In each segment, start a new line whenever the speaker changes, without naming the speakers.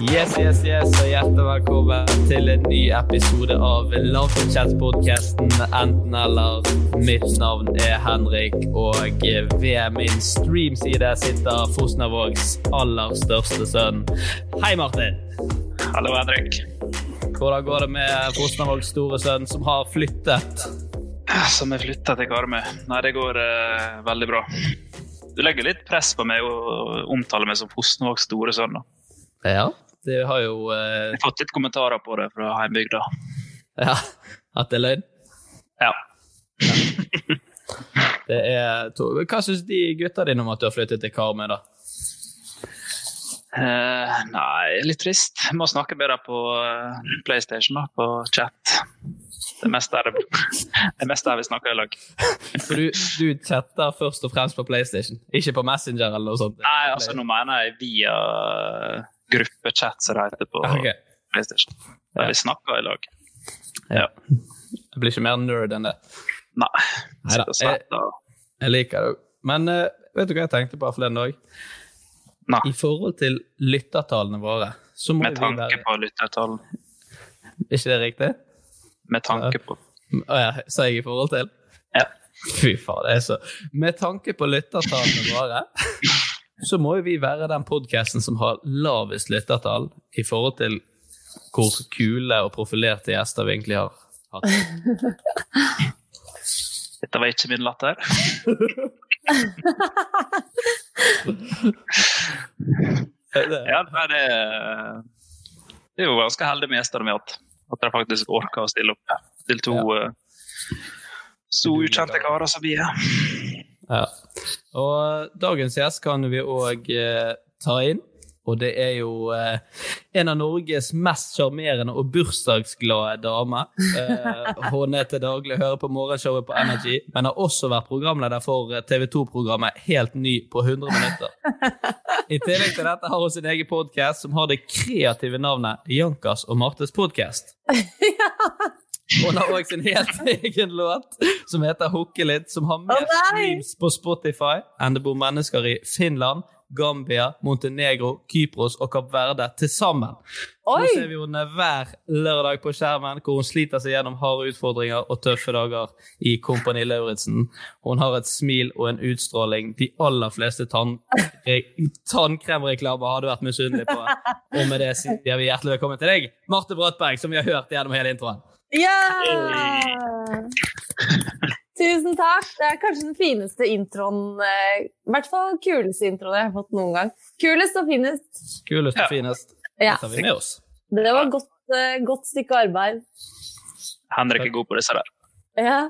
Yes, yes, yes, og hjertelig velkommen til en ny episode av Lavkjent-podkasten Enten-eller. Mitt navn er Henrik, og ved min streamside sitter Fosnavågs aller største sønn. Hei, Martin.
Hallo, Henrik.
Hvordan går det med Fosnavågs store sønn, som har flyttet?
Eh, Som er flytta til Karmøy. Nei, det går eh, veldig bra. Du legger litt press på meg og omtaler meg som Fosnavågs store sønn. da.
Ja, det har jo eh,
Jeg har fått litt kommentarer på det fra heimbygda.
ja, at det er løgn.
Ja.
Det er to. Hva syns de gutta dine om at du har flyttet til Karmøy, da?
Eh, nei, litt trist. Jeg må snakke bedre på eh, PlayStation, da, på chat. Det meste er det, det meste er vi snakker i lag.
For du, du chatter først og fremst på PlayStation, ikke på Messenger eller noe sånt?
Nei, altså nå mener jeg via gruppechat, som det heter på
Ok.
PlayStation. Der
Ja.
vi snakker i lag.
Ja. Jeg blir ikke mer nerd enn det.
Nei.
Neida,
Sitter og svetter.
Jeg liker det òg. Men eh, vet du hva jeg tenkte på forleden dag?
Nei.
I forhold til lyttertallene våre, så må
Med
jo vi
tanke
være
på lyttertall.
Er ikke det riktig?
Med tanke på
Å ja, sa jeg i forhold til?
Ja.
Fy faen, det er så Med tanke på lyttertallene våre, så må jo vi være den podkasten som har lavest lyttertall i forhold til hvor kule og profilerte gjester vi egentlig har hatt.
Dette var ikke min latter.
Det-
Ja, nei, det, det er jo ganske heldig med gjestene vi har hatt. At de faktisk orker å stille opp til to eh, så ukjente karer som vi er.
Ja. Og eh, dagens gjest kan vi òg eh, ta inn. Og det er jo eh, en av Norges mest sjarmerende og bursdagsglade damer. Eh, hun er til daglig hører på morgenshowet på Energy, men har også vært programleder for eh, TV 2-programmet Helt ny på 100 minutter. I tillegg til dette har hun sin egen podkast som har det kreative navnet Jankas og Martes podkast. Hun har òg sin helt egen låt som heter Hukke litt, som har mer
Å, nei!
streams på Spotify enn det bor mennesker i Finland, Gambia, Montenegro, Kypros og Kapp Verde til sammen. Nå ser
Oi!
vi henne hver lørdag på skjermen, hvor hun sliter seg gjennom harde utfordringer og tøffe dager i Kompani Lauritzen. Hun har et smil og en utstråling de aller fleste tann tannkremreklamer hadde vært misunnelig på. Og med det sier vi hjertelig velkommen til deg, Marte Brattberg, som vi har hørt gjennom hele introen.
Ja! Tusen takk. Det er kanskje den fineste introen, eh, i hvert fall kuleste introen jeg har fått noen gang. Kulest og finest.
Kulest og finest. Det
Ja,
tar vi med oss.
det var godt, eh, godt stykke arbeid.
Henrik er god på disse der.
Ja.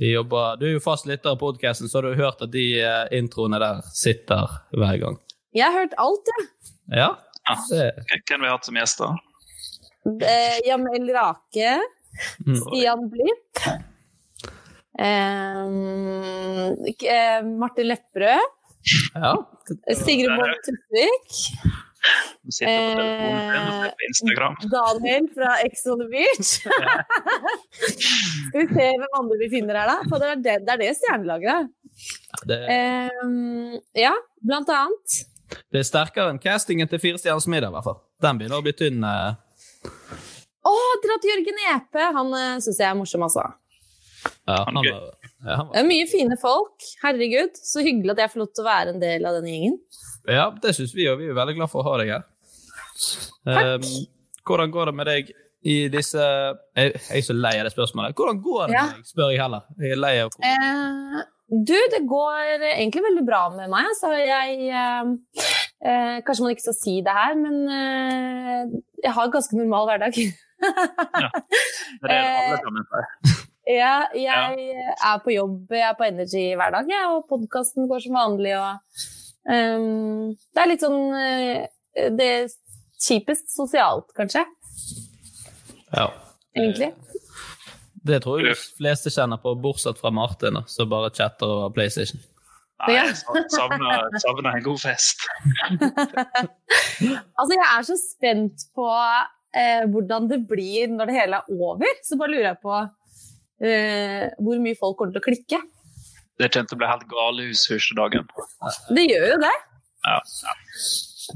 Vi jobber, du er jo fast lytter av podkasten, så har du hørt at de eh, introene der sitter hver gang.
Jeg har hørt alt, jeg.
Ja,
Ja.
det
Hvem vi har hatt som gjester?
Eh, Jamel Rake,
Mm.
Stian Blipp, eh, k- eh, Martin Lepperød,
ja.
Sigrid Bonde Tusvik,
Som sitter på telefonen sin og ser på Instagram.
Daniel fra Ex on the Beach. Skal vi se hvem andre vi finner her, da? For det er det, det, er det stjernelaget.
Det,
Eh, ja, blant annet.
det er sterkere enn castingen til Fire stjerners middag, i hvert fall. Den begynner å bli tynn. eh.
Å, dere at Jørgen Epe! Han uh, syns jeg er morsom, altså.
Ja,
Han
han
er
var,
gøy.
ja, han var.
Det er mye fine folk. Herregud, så hyggelig at jeg får lov til å være en del av denne gjengen.
ja det syns vi, og vi er veldig glad for å ha deg her. Ehm, hvordan går det med deg i disse Jeg, jeg er så lei av det spørsmålet. Hvordan går det
Ja.
med deg, spør jeg heller. Jeg er lei av
Eh, du, det går egentlig veldig bra med meg. Altså, jeg eh, eh, Kanskje man ikke skal si det her, men eh, jeg har en ganske normal hverdag.
Det er det
Eh,
alle sammen sier.
ja, jeg eh, er på jobb, jeg er på Energy hver dag, jeg, og podkasten går som vanlig. Og, eh, det er litt sånn eh, Det er kjipest sosialt, kanskje.
ja.
Egentlig.
Det tror jeg de fleste kjenner på, bortsett fra Martin, da, som bare chatter over PlayStation.
Nei,
Ja.
jeg sa- savner, savner en god fest.
Altså, jeg er så spent på eh, hvordan det blir når det hele er over. Så bare lurer jeg på eh, hvor mye folk kommer til å klikke.
Det kommer til å bli helt galehus første dagen.
Det gjør jo det.
Ja.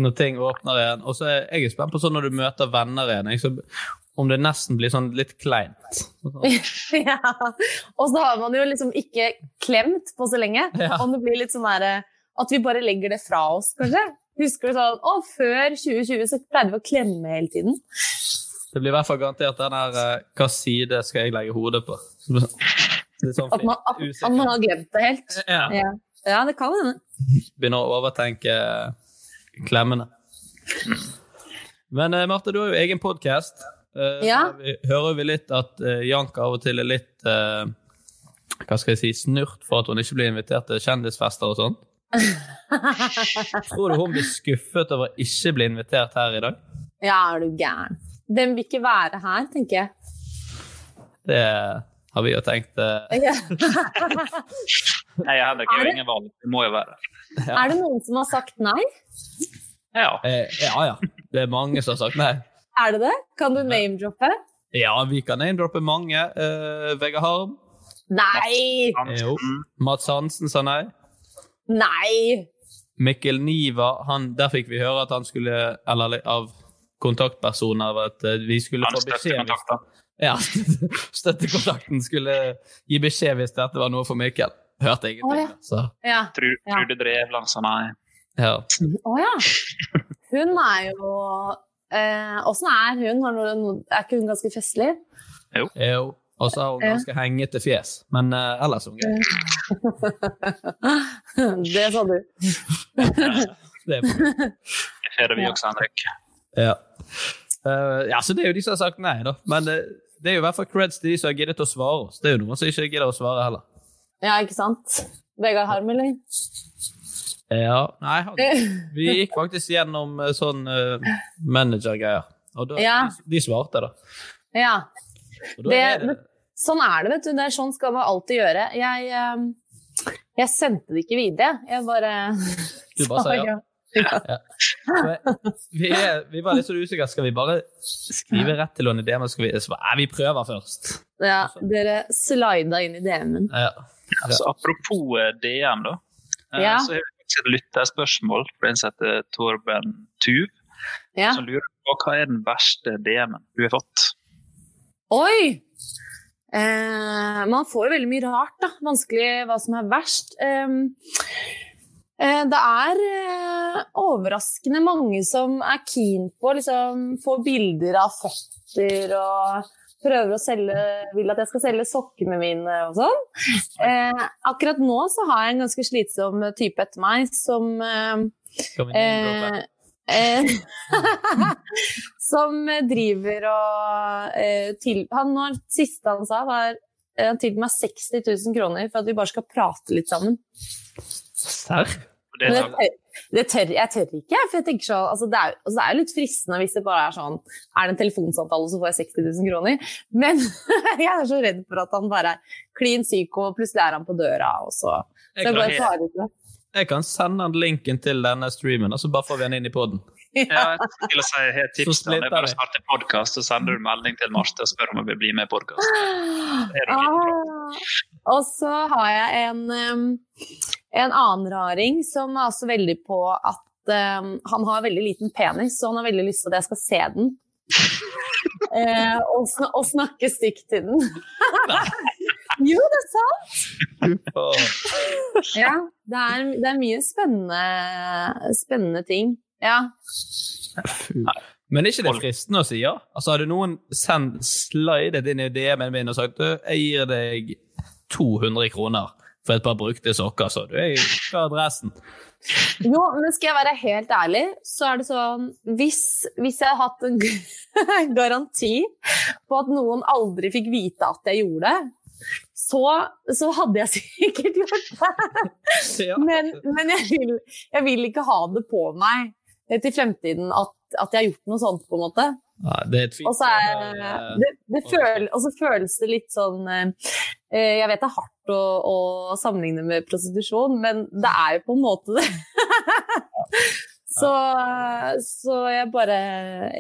Når ting åpner igjen. Og så er jeg er spent på sånn når du møter venner igjen, jeg, så, om det nesten blir sånn litt kleint.
ja. Og så har man jo liksom ikke klemt på så lenge.
Ja.
Om det blir litt sånn derre At vi bare legger det fra oss, kanskje. Husker du sånn Å, før 2020 så pleide vi å klemme hele tiden.
Det blir i hvert fall garantert den her eh, Hva side skal jeg legge hodet på? Litt sånn
At man, at, at man har glemt det helt.
ja.
Ja, ja det kan hende.
Begynner å overtenke eh, klemmene. Men eh, Marte, du har jo egen podkast.
Ja.
Eh, Vi hører vi litt at eh, Janka av og til er litt eh, hva skal jeg si, snurt for at hun ikke blir invitert til kjendisfester og sånn. Tror du hun blir skuffet over å ikke bli invitert her i dag?
Ja, er du gæren. Hvem vil ikke være her, tenker jeg.
Det har vi jo tenkt. eh,
Nei, jeg Henrik jeg har jo ingen valg. Det må jo være.
Er det noen som har sagt nei?
Ja.
eh, ja ja, det er mange som har sagt nei.
Er det det? Kan du name-droppe?
Ja, vi kan name-droppe mange. Eh, Vegard Harm.
Nei!
Jo.
Hansen.
Mats Hansen sa nei.
Nei!
Mikkel Niva, han, der fikk vi høre at han skulle Eller li- av kontaktpersoner at eh, vi skulle
Han
få
støtter
beskjed hvis-
kontakten.
Ja, støttekontakten skulle gi beskjed hvis dette var noe for Mikkel. Hørte
Å,
ingenting.
ja.
Så,
Ja.
Tru-
Ja.
Trude Drevland sa nei.
ja.
Å ja. Hun er jo eh, Åssen er hun? Har noen, er ikke hun ganske festlig?
Jo. Og så har hun
Ja.
ganske hengete fjes. Men eh, ellers er hun grei.
Det sa du.
Det er
Det er det vi også, Henrik.
Ja. Eh, ja, så det er jo de som har sagt nei, da. Men eh, det er jo i hvert fall creds til de som har giddet å svare oss. Det er jo noen som ikke gidder å svare heller.
Ja, ikke sant? Vegard Harm, eller?
Ja, nei, han, Vi gikk faktisk gjennom eh, sånn eh, managergreier, og da,
Ja.
de, de svarte, da.
Ja.
Og da
Det-
er det,
Sånn er det, vet du. Det er sånn skal man alltid gjøre. Jeg, eh, jeg sendte det ikke videre. Jeg bare
Du bare sa ja. så jeg- vi, er, vi var litt så usikre. Skal vi bare skrive rett til henne i DM? eller Skal vi, så, bare, nei, vi prøver først.
Ja, dere slida inn i DM-en.
Ja.
Altså, apropos eh, DM, da. eh,
Ja.
Så har vi et lytterspørsmål fra en som heter Torben Tuv,
Ja.
som lurer på hva er den verste DM-en du har fått?
Oi! Eh, man får jo veldig mye rart, da. Vanskelig hva som er verst. Eh, eh, det er eh, overraskende mange som er keen på å liksom, få bilder av føtter og prøver å selge Vil at jeg skal selge sokkene mine og sånn. Eh, akkurat nå så har jeg en ganske slitsom type etter meg som eh,
Skal vi name-droppe?
Eh, eh, som driver og eh, til, han, nå- Siste han sa, var eh, han tilbød meg 60 000 kroner for at vi bare skal prate litt sammen.
Serr?
Og det
Men
er sånn,
jeg, tør, det tør, jeg tør ikke, jeg, for jeg tenker sånn altså det, er, altså det er jo litt fristende hvis det bare er sånn Er det en telefonsamtale, så får jeg 60 000 kroner. Men jeg er så redd for at han bare er klin syk, og plutselig er han på døra, og så Så
Jeg
jeg bare
kan,
klarer ikke det.
jeg kan sende han linken til denne streamen, og så bare får vi han inn i poden.
ja, jeg skulle til å si, jeg har et tips
Så
til han. Det er
splitter
bare å
vi.
starte podkast, så sender du en melding til Marte og spør om hun vil bli med i podkast.
Ah, og så har jeg en, um, en annen raring som er også veldig på at um, han har veldig liten penis, så han har veldig lyst til at jeg skal se den. Eh, og, sn og snakke stygt til den. jo, det er sant! Ja, det, er, det er mye spennende, spennende ting. Ja.
Men er ikke det fristende å si ja? Altså, Hadde noen sendt slidet inn i DM-en min og sagt du, jeg gir deg 200 kroner for et par brukte sokker, så du er jo hva er adressen.
Jo, men skal jeg være helt ærlig, så er det sånn Hvis, hvis jeg hadde hatt en g- garanti på at noen aldri fikk vite at jeg gjorde det, så, så hadde jeg sikkert gjort det.
Ja.
Men, men jeg, vil, jeg vil ikke ha det på meg til fremtiden at, at jeg har gjort noe sånt, på en måte.
Ja, det er et fint
Og så
eh,
er, det, det føl, og så føles det litt sånn eh, Jeg vet det er hardt å, å sammenligne med prostitusjon, men det er jo på en måte det. så, så jeg bare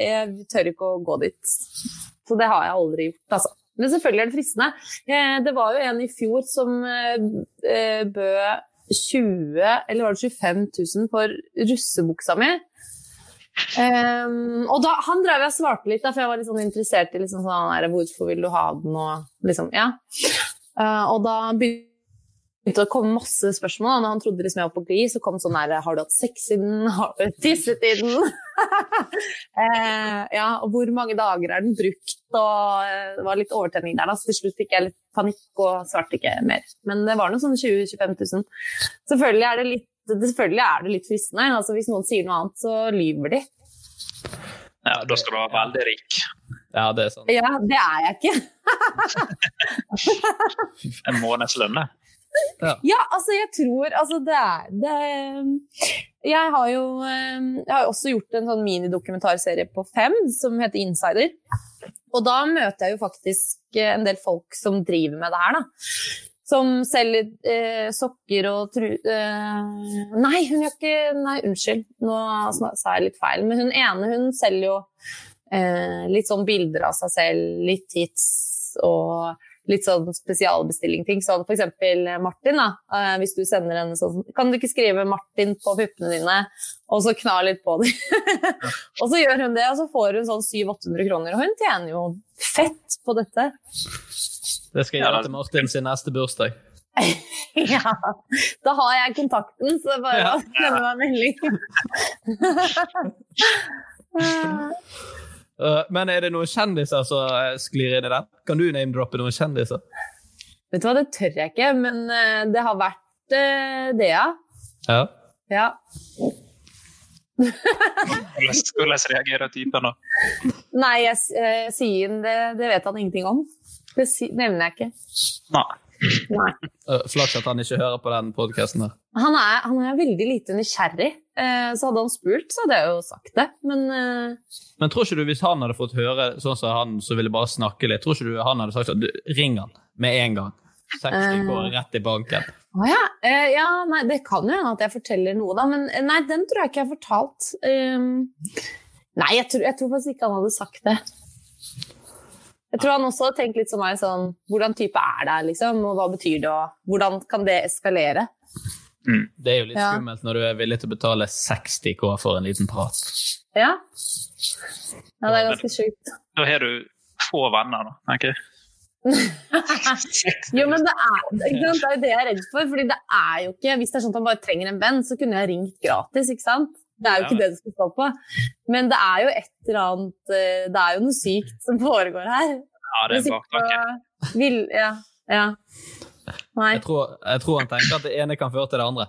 Jeg tør ikke å gå dit. Så det har jeg aldri gjort, altså. Men selvfølgelig er det fristende. Eh, Det var jo en i fjor som eh, eh, bød 20 eller var det 25 000 for russebuksa mi. Ehm, og da, han drev jeg og svarte litt, da, for jeg var litt sånn interessert i liksom sånn, der, hvorfor vil du ha den, og liksom, ja. Eh, og da begynte det å komme masse spørsmål. Da. Når han trodde liksom jeg var på glid, så kom sånn der Har du hatt sex i den? Har du tisset i den? Eh, ja, og hvor mange dager er den brukt? Og eh, det var litt overtenning der, da. Så til slutt fikk jeg litt panikk og svarte ikke mer. Men det var noe sånn 20 000-25 000. Selvfølgelig er det litt Selvfølgelig er det litt fristende. Altså, hvis noen sier noe annet, så lyver de.
Ja, da skal du være veldig rik.
Ja, det er sant.
Ja, det er jeg ikke.
En månedslønn, det.
Ja, altså, jeg tror Altså, det er det, Jeg har jo eh, Jeg har jo også gjort en sånn minidokumentarserie på fem som heter Insider. Og da møter jeg jo faktisk eh, en del folk som driver med det her, da. Som selger eh, sokker og tru... Eh, nei, hun gjør ikke Nei, unnskyld, nå sna- sa jeg litt feil. Men hun ene, hun selger jo eh, litt sånn bilder av seg selv, litt hits og litt sånn spesialbestillingting. Sånn for eksempel Martin, da. Eh, hvis du sender en sånn Kan du ikke skrive 'Martin' på puppene dine, og så kna litt på dem? og så gjør hun det, og så får hun sånn 700-800 kroner. Og hun tjener jo fett på dette.
Det skal
Ja,
jeg gjøre
det-
til Martin sin neste bursdag.
ja. Da har jeg kontakten, så det er bare å sende meg en melding. Eh,
Uh, men er det noen kjendiser som eh, sklir inn i den? Kan du name-droppe noen kjendiser?
Vet du hva, det tør jeg ikke, men eh, det har vært eh, det, ja.
Ja.
ja.
Hvordan- Hvordan reagerer typen da?
Nei, jeg, s- eh, Sien, det, det vet han ingenting om. Det si, nevner jeg ikke.
Nei.
Nei.
Uh, Flaks at han ikke hører på den podkasten her.
Han er, han er veldig lite nysgjerrig, eh, så hadde han spurt, så hadde jeg jo sagt det. Men eh,
Men tror ikke du hvis han hadde fått høre sånn som han som ville bare snakke litt, tror ikke du han hadde sagt at du, ring han med en gang? 60 går rett i banken.
Å ja. Eh, ja, nei, det kan jo hende at jeg forteller noe, da. Men eh, nei, den tror jeg ikke jeg har fortalt. Ehm, nei, jeg tror, jeg tror faktisk ikke han hadde sagt det. Jeg tror han også hadde tenkt litt som meg, sånn Hvordan type er det her, liksom? Og hva betyr det, og hvordan kan det eskalere?
Mm.
Det er jo litt
Ja.
skummelt når du er villig til å betale 60 K for en liten prat.
Ja. ja, det er ganske sjukt.
Da har du få venner, da, tenker jeg.
Jo, men det er, ikke sant? det er jo det jeg er redd for. fordi det er jo ikke, Hvis det er sånn at man bare trenger en venn, så kunne jeg ringt gratis. ikke sant? Det er jo ikke det det skal stå på. Men det er jo et eller annet eh, Det er jo noe sykt som foregår her.
Ja, det er en baktanke.
vil, ja, ja. Nei,
Jeg tror, jeg tror han tenker at det ene kan føre til det andre.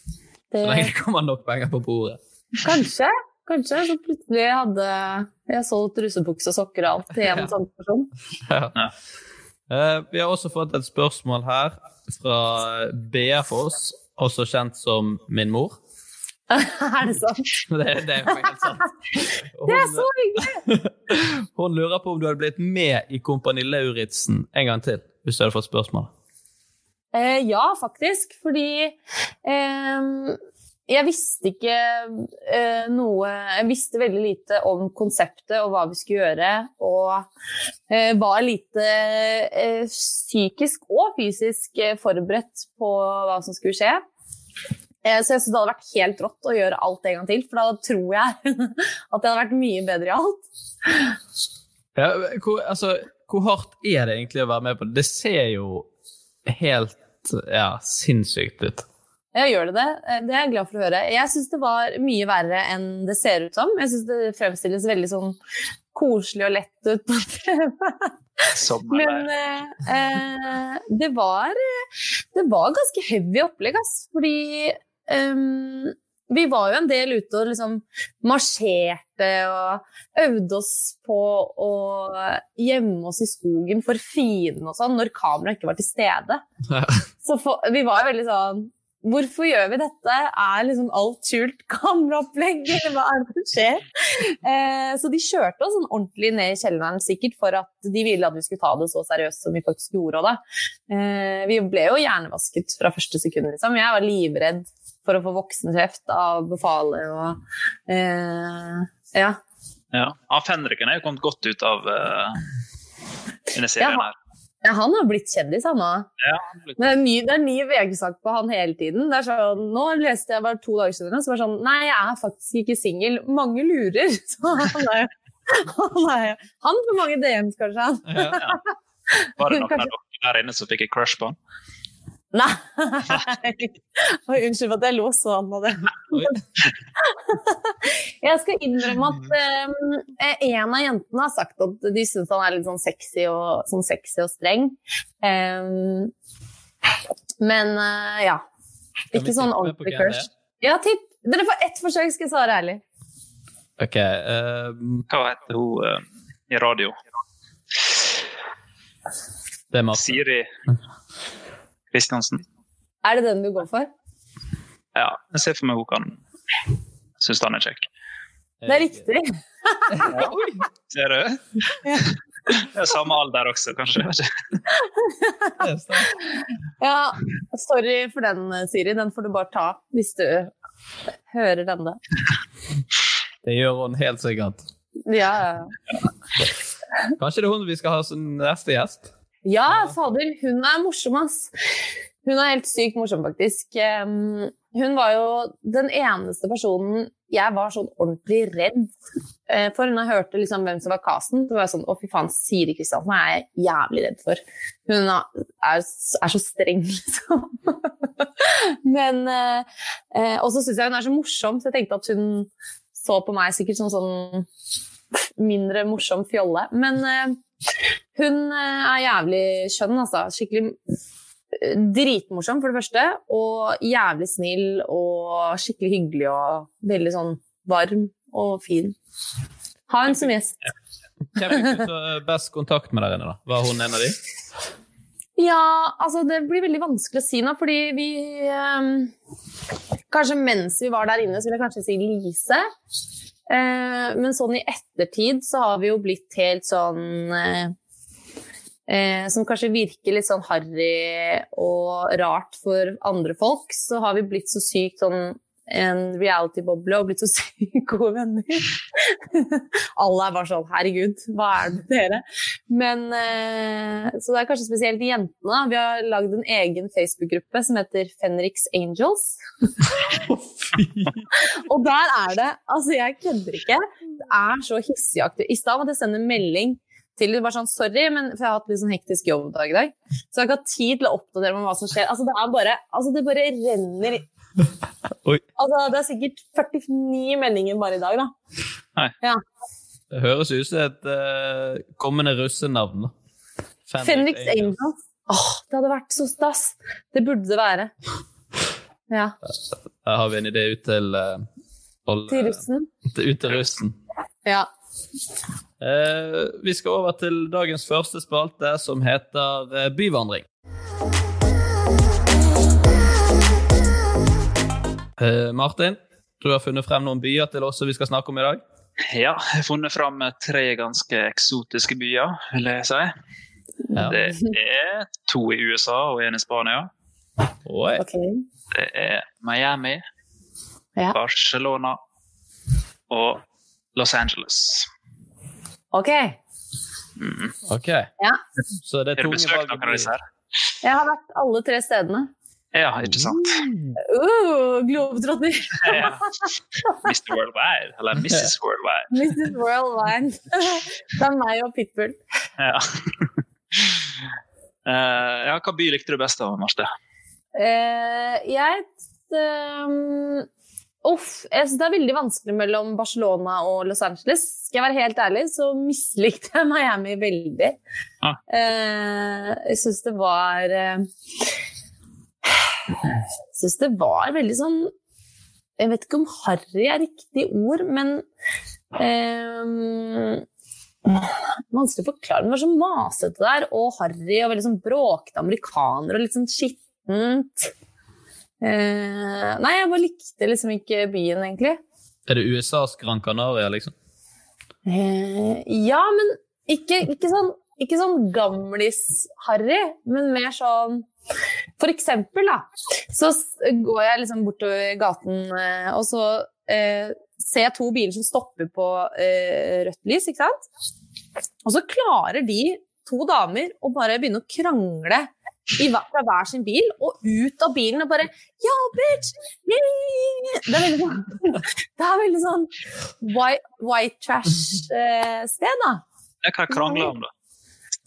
det,
Så lenge det kommer nok penger på bordet.
kanskje. Kanskje så plutselig hadde jeg solgt rusebukse og sokker og alt til en
Ja.
sånn person.
Ja.
Ja.
Eh, Vi har også fått et spørsmål her fra Bea Foss, også kjent som min mor.
er det sant?
Det, det er jo helt sant.
Det er
Hun-
så hyggelig!
Hun lurer på om du hadde blitt med i Kompani Lauritzen en gang til, hvis du hadde fått spørsmål.
Eh, ja, faktisk. Fordi eh, jeg visste ikke eh, noe Jeg visste veldig lite om konseptet og hva vi skulle gjøre. Og eh, var lite eh, psykisk og fysisk eh, forberedt på hva som skulle skje. Eh, så jeg synes det hadde vært helt rått å gjøre alt en gang til, for da tror jeg at jeg hadde vært mye bedre i alt.
Ja, hvor, altså, hvor hardt er det egentlig å være med på det? Det ser jo helt ja, sinnssykt ut.
Ja, gjør det det? Eh, Det er jeg glad for å høre. Jeg syns det var mye verre enn det ser ut som. Jeg syns det fremstilles veldig sånn koselig og lett ut på TV. Men
Sommerleir.
eh, eh, det, var, eh, det var ganske heavy opplegg, ass. Fordi ehm, vi var jo en del ute og liksom marsjerte og øvde oss på å gjemme oss i skogen for fienden og sånn, når kameraet ikke var til stede.
Ja.
Så for, vi var jo veldig sånn Hvorfor gjør vi dette? Er liksom alt skjult kameraopplegg, eller hva er det som skjer? Eh, så de kjørte oss sånn ordentlig ned i kjelleren, sikkert for at de ville at vi skulle ta det så seriøst som vi faktisk gjorde. og Da. Eh, vi ble jo hjernevasket fra første sekund, liksom. Jeg var livredd for å få voksenkreft av befalet og eh, Ja.
Ja. Alf Henriken er jo kommet godt ut av eh, denne serien
Ja.
her.
ja, han har blitt kjendis, han òg.
Ja, han blir-
Det er en ny, det er en ny VG-sak på han hele tiden. Det er sånn, nå leste jeg bare to dager siden, så var det sånn Nei, jeg er faktisk ikke singel. Mange lurer. Så han er han er Han får mange DMs, kanskje. han.
ja. Var det noen av dere der inne som fikk et crush på han?
Nei! Oi, unnskyld for at jeg lo sånn av det.
Oi.
Jeg skal innrømme at eh, en av jentene har sagt at de syns han er litt sånn sexy og, sånn sexy og streng. Em, men eh, ja.
Kan vi
Ikke sånn ordentlig
tippe på hvem det er?
crush. Ja, tipp. Dere får ett forsøk, skal jeg svare ærlig.
Ok, ehm,
Hva heter hun eh, i radio?
det er Marte.
Siri Kristiansen.
Er det den du går for?
Ja, jeg ser for meg hun kan synes han er kjekk.
Det er riktig.
Ser du? Det er samme alder også, kanskje.
Det er sant.
Ja, sorry for den, Siri. Den får du bare ta hvis du hører denne.
Det gjør hun helt sikkert.
Ja, ja.
Kanskje det er hun vi skal ha som neste gjest?
Ja, fader, hun er morsom, ass. Hun er helt sykt morsom, faktisk. Em, Hun var jo den eneste personen jeg var sånn ordentlig redd eh, for. Når jeg hørte liksom hvem som var casten, så var jeg sånn Å, fy faen, Siri Kristiansen er jeg jævlig redd for. Hun er, er er så streng, liksom. Men eh, eh, Og så syns jeg hun er så morsom, så jeg tenkte at hun så på meg sikkert som sånn mindre morsom fjolle. Men eh, hun eh, er jævlig skjønn, altså. Skikkelig eh, dritmorsom, for det første. Og jævlig snill og skikkelig hyggelig og veldig sånn varm og fin. Ha henne som gjest.
Hvem fikk du så best kontakt med der inne, da? Var hun en av de?
Ja, altså det blir veldig vanskelig å si nå, fordi vi ehm, Kanskje mens vi var der inne, så vil jeg kanskje si Lise. Eh, men sånn i ettertid så har vi jo blitt helt sånn eh, eh, Som kanskje virker litt sånn harry og rart for andre folk, så har vi blitt så sykt sånn en reality-boble og blitt så sykt gode venner. Alle er bare sånn 'herregud, hva er det med dere?' Men, eh, så det er kanskje spesielt jentene. da. Vi har lagd en egen Facebook-gruppe som heter Fenriks Angels. og der er det Altså, jeg kødder ikke. Det er så hissigaktig. I stad måtte jeg sende melding til dem bare sånn 'sorry, men for jeg har hatt litt sånn hektisk jobbdag i dag'. Så jeg har ikke hatt tid til å oppdatere meg om hva som skjer. Altså, det er bare Altså, det bare renner
Oi.
Altså, det er sikkert 49 meldinger bare i dag, da.
Det høres ut som et eh, kommende russenavn. da.
Fenriks Angels. Åh, det hadde vært så stas! Det burde det være. Ja.
Da har vi en idé ut til eh, alle-
Til russen.
til- Ut til russen.
Ja.
Eh, vi skal over til dagens første spalte, som heter eh, Byvandring. Eh, Martin, du har funnet frem noen byer til oss som vi skal snakke om i dag.
Ja, jeg har funnet fram eh, tre ganske eksotiske byer, vil jeg si.
Ja.
Det er to i USA og en i Spania.
Oi.
Ok.
Det er Miami,
Ja.
Barcelona og Los Angeles. Mm.
ok.
Ok.
Ja.
Så
Har
det er
du
tunge
besøkt
valg å
noen av
bli.
disse her?
Jeg har vært alle tre stedene.
Ja, ikke sant?
Uh, Globetrotter!
Ja. Mr. Worldwide, eller Mrs. Worldwide.
Mrs. Worldwide. Det er meg og Pitbull.
Ja. Eh, ja, hva by likte du best av, Marte?
Eh, jeg ehm, Uff, jeg synes det er veldig vanskelig mellom Barcelona og Los Angeles. Skal jeg være helt ærlig, så mislikte jeg Miami veldig.
Ah.
Eh, jeg syns det var eh, Jeg syns det var veldig sånn Jeg vet ikke om harry er riktig ord, men ehm, Vanskelig å forklare, men det var så masete der, og harry og veldig sånn bråkete amerikanere og litt sånn skittent. Eh, nei, jeg bare likte liksom ikke byen, egentlig.
Er det USAs Gran Canaria, liksom?
Eh, ja, men ikke, ikke sånn, ikke sånn gamlis-harry, men mer sånn For eksempel, da, så s- går jeg liksom bortover gaten, eh, og så eh, ser jeg to biler som stopper på eh, rødt lys, ikke sant? Og så klarer de to damer å bare begynne å krangle i hver, fra hver sin bil, og ut av bilen og bare Ja, bitch! Yay! Det er veldig sånn, det er veldig sånn white, white eh, trash-sted, da.
Ja, Hva krangla om, da?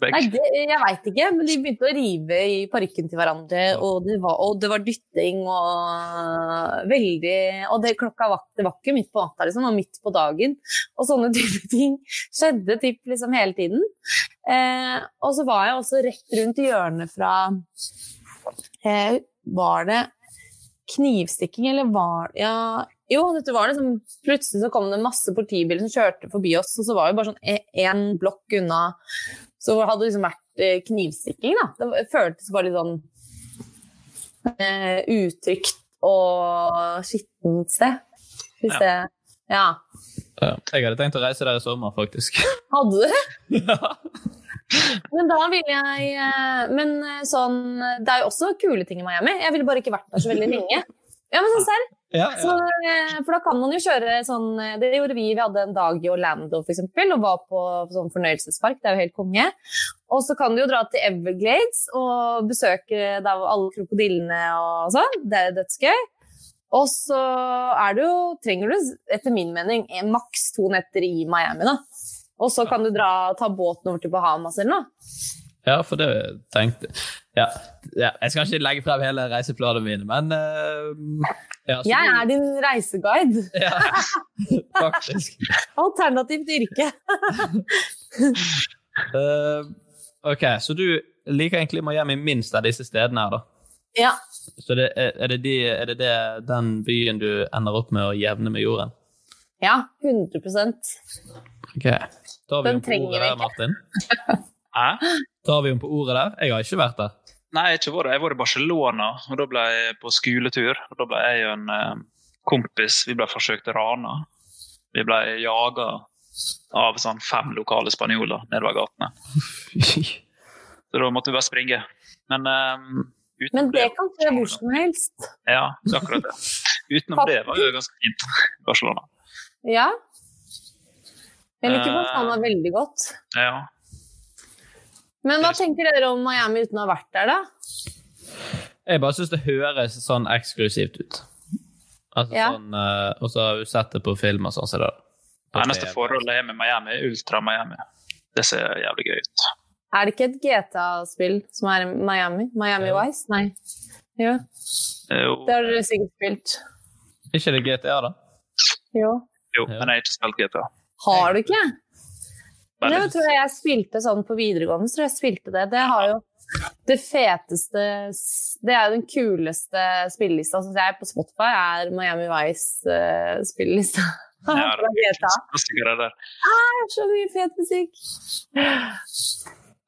Begge.
Nei, det, jeg veit ikke, men de begynte å rive i parykken til hverandre, og det var, og det var dytting og veldig Og det, klokka var, det var ikke midt på natta, liksom, det var midt på dagen. Og sånne type ting skjedde typ, liksom hele tiden. Eh, og så var jeg også rett rundt hjørnet fra eh, Var det knivstikking, eller var det ja, Jo, dette var liksom Plutselig så kom det masse politibiler som kjørte forbi oss, og så var vi bare sånn én blokk unna. Så hadde det liksom vært eh, knivstikking, da. Det var- føltes bare litt sånn eh, utrygt og skittent sted. Hvis det Ja.
Ja. Jeg hadde tenkt å reise der i sommer, faktisk.
Hadde du det?
Ja.
Men da ville jeg eh, Men eh, sånn Det er jo også kule ting i Miami. Jeg ville bare ikke vært der så veldig lenge. Ja, men sånn serr.
Ja,
Så, eh, for da kan man jo kjøre sånn eh, Det gjorde vi. Vi hadde en dag i Orlando for eksempel, og var på sånn fornøyelsespark. Det er jo helt konge. Og så kan du jo dra til Everglades og besøke der hvor alle krokodillene og sånn. Det er jo dødsgøy. Og så er det jo, trenger du, etter min mening, en- maks to netter i Miami, da. Og så kan du dra, ta båten over til Bahamas eller noe.
Ja, for det tenkte ja. ja. Jeg skal ikke legge frem hele reiseplanene mine, men eh, ja, så
Jeg
du-
er din reiseguide.
ja, Faktisk.
Alternativt yrke.
Eh, ok, så du liker egentlig Miami minst av disse stedene her, da?
Ja.
Så det, er, er det, de, er det, det den byen du ender opp med å jevne med jorden?
Ja, 100
Ok. Tar vi
Den
henne på
trenger vi
ordet der,
ikke.
Martin?
Hæ?
Tar vi henne på ordet der? Jeg har ikke vært der.
Nei, jeg har ikke vært der. Jeg var i Barcelona, og da ble jeg på skoletur. og Da ble jeg og en eh, kompis Vi ble forsøkt rana. Vi ble jaga av sånn fem lokale spanjoler nedover gatene. Så da måtte vi bare springe. Men eh, utenom
Men det kan skje hvor som helst.
Ja, så akkurat det. Utenom det var det ganske fint i Barcelona.
Ja. Jeg liker Montana veldig godt.
Ja.
Men hva tenker dere om Miami uten å ha vært der, da?
Jeg bare syns det høres sånn eksklusivt ut. Altså
Ja.
sånn, eh, Og så har vi sett det på film og sånn. Så det,
Det eneste forholdet jeg har med Miami, er Ultra-Miami. Det ser jævlig gøy ut.
Er det ikke et GTA-spill som er i Miami? Miami
Ja.
Vice? Nei. Jo,
Det er Eh, Jo,
det har dere sikkert spilt.
Ikke det GTA, da?
Jo.
jo, men jeg har ikke spilt GTA.
Har du ikke?
Bare
Det tror jeg jeg spilte sånn på videregående. så tror jeg spilte Det Det har jo det feteste Det er jo den kuleste spillelista, syns jeg, på Spotify, er Miami Vice-spillelista.
Ja, det
Fra GTA.
klassikere der.
Det er så mye fet musikk!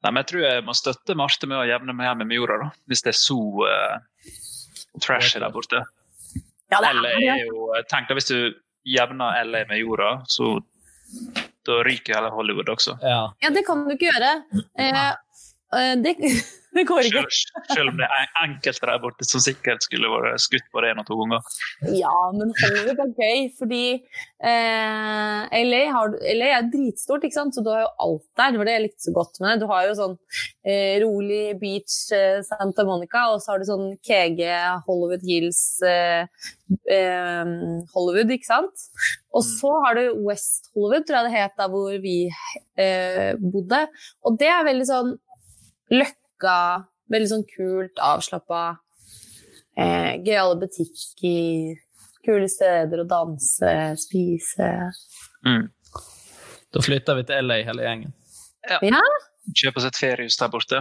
Nei, men jeg tror jeg må støtte Marte med å jevne Miami med jorda, da. Hvis det er så eh, trashy der borte.
Ja, det
LA
er det.
er jo eh, Tenk deg hvis du jevner LA med jorda, så da ryker hele Hollywood også.
Ja.
Ja, det kan du ikke gjøre. Eh, eh, det, det går ikke.
Selv, selv om det er enkelte der borte som sikkert skulle vært skutt på det en og to ganger.
Ja, men Hollywood er gøy, fordi eh, LA, har, LA er dritstort, ikke sant? så du har jo alt der. Det var det jeg likte så godt med det. Du har jo sånn eh, rolig beach eh, Santa Monica, og så har du sånn KG Hollywood Hills eh, eh, Hollywood, ikke sant? Og så har du West Hollywood, tror jeg det het, da hvor vi eh, bodde. Og det er veldig sånn løkka, veldig sånn kult, avslappa eh, gøyale butikker, kule steder å danse, spise.
Mm.
Da flytter vi til LA, hele gjengen.
Kjøpe seg et feriehus der borte.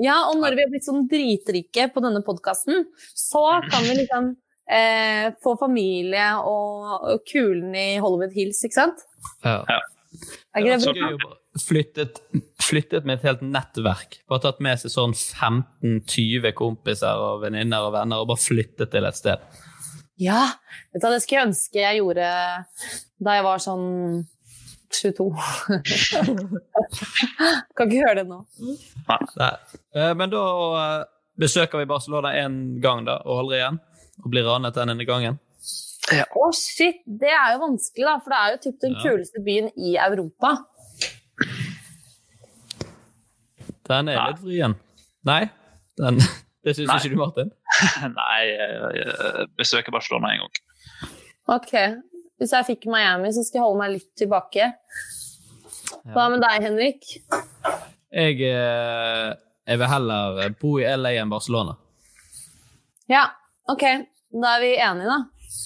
Ja, og når vi har blitt sånn dritrike på denne podkasten, så kan vi liksom eh, få familie og, og kulen i Hollywood Hills, ikke sant?
Ja.
Er ikke
Så
det
gøy å bare Flyttet, flyttet med et helt nettverk. Bare tatt med seg sånn 15-20 kompiser og venninner og venner og bare flyttet til et sted.
Ja! Vet du hva, det skulle jeg ønske jeg gjorde da jeg var sånn 22. kan ikke høre det nå.
Nei. Eh, Men da eh, besøker vi Barcelona én gang, da, og aldri igjen. Og blir ranet den ene gangen.
Å, shit! Det er jo vanskelig, da, for det er jo typ den
Ja.
kuleste byen i Europa.
Den er
Nei.
litt vrien. Nei? Den, det syns
Nei.
ikke du, Martin?
Nei, jeg- jeg besøker Barcelona en gang.
Ok. Hvis jeg fikk Miami, så skal jeg holde meg litt tilbake. Hva med deg, Henrik?
Jeg, eh, jeg vil heller bo i LA enn Barcelona.
Ja, ok. Da er vi enige, da.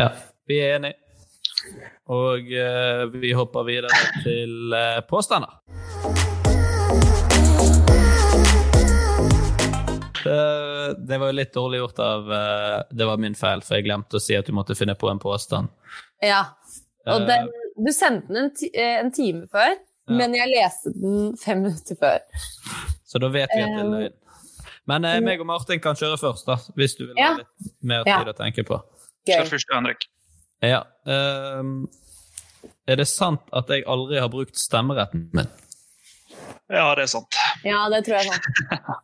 Ja, vi er enige. Og eh, vi hopper videre til eh, påstander. Eh, det var jo litt dårlig gjort av eh, Det var min feil, for jeg glemte å si at du måtte finne på en påstand.
Ja. Og
Eh,
den, du sendte den en, ti, eh, en time før, men jeg leste den fem minutter før.
Så da vet vi at det er løgn. Men eh, meg og Martin kan kjøre først, da, hvis du vil ha
Ja.
litt mer
Ja.
tid å tenke på.
Gøy.
Kjør først, Henrik.
Ja. ehm, er det sant at jeg aldri har brukt stemmeretten min?
Ja, det er sant.
Ja, det tror jeg sånn.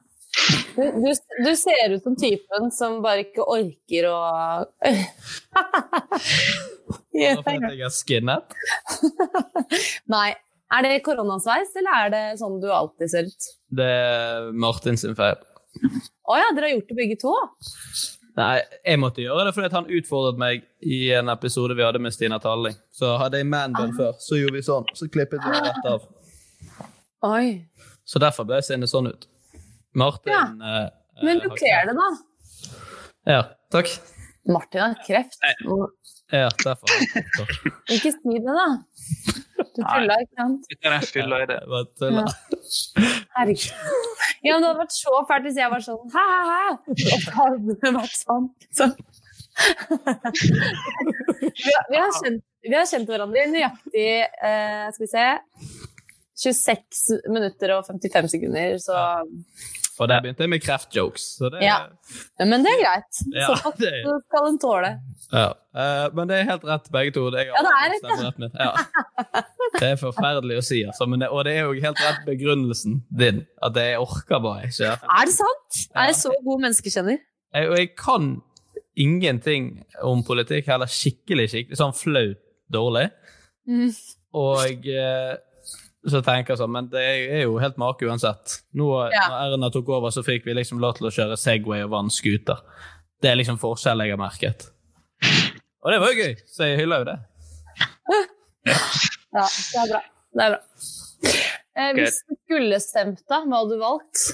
Du, du, du ser ut som typen som bare ikke orker å Ja.
Bare fordi at jeg er skinnet?
Nei. Er det koronasveis, eller er det sånn du alltid ser ut?
Det er Martin sin Eh, feil.
Å ja, dere har gjort det begge to?
Nei, jeg måtte gjøre det fordi at han utfordret meg i en episode vi hadde med Stina Talling. Så hadde jeg
Ah.
manbun før, så gjorde vi sånn. Så klippet vi det rett av.
Oi.
Så derfor ble sinnet sånn ut. Martin
Ja.
eh,
Men du
har
kler
kreft.
det, da.
Ja. Takk.
Martin har kreft. Nå-
Ja, derfor. Takk.
Ikke si det, da. Du tulla, ikke sant?
Dette er en fylla idé.
Jeg bare tuller.
Herregud. Ja, men det hadde vært så fælt hvis jeg var sånn hæ, hæ, hæ. Og så hadde det vært sånn. Så. Vi, har, vi, har kjent, vi har kjent hverandre i nøyaktig eh, skal vi se 26 minutter og 55 sekunder, så
Og der begynte jeg med kreftjokes. Så det,
Ja. Men det er greit.
Ja,
Såpass
det er-
skal en tåle.
Ja. Eh, men det er helt rett, begge to. Det er,
Ja, det er rett, ja.
stemmeretten min. Ja. Det er forferdelig å si, altså. Men det, og det er jo helt rett begrunnelsen din. At jeg orker bare ikke.
Er det sant? Er jeg så god menneskekjenner?
Jeg, og jeg kan ingenting om politikk, heller skikkelig, skikkelig sånn flaut dårlig.
Mm.
Og eh, så tenker jeg sånn, men det er jo helt make uansett. Nå eh,
Ja.
når Erna tok over, så fikk vi liksom lov til å kjøre Segway og vannskuter. Det er liksom forskjell jeg har merket. Og det var jo gøy, så jeg hyller jo det.
Ja, det er bra. Det er bra. Eh, hvis du skulle stemt, da, hva hadde du valgt?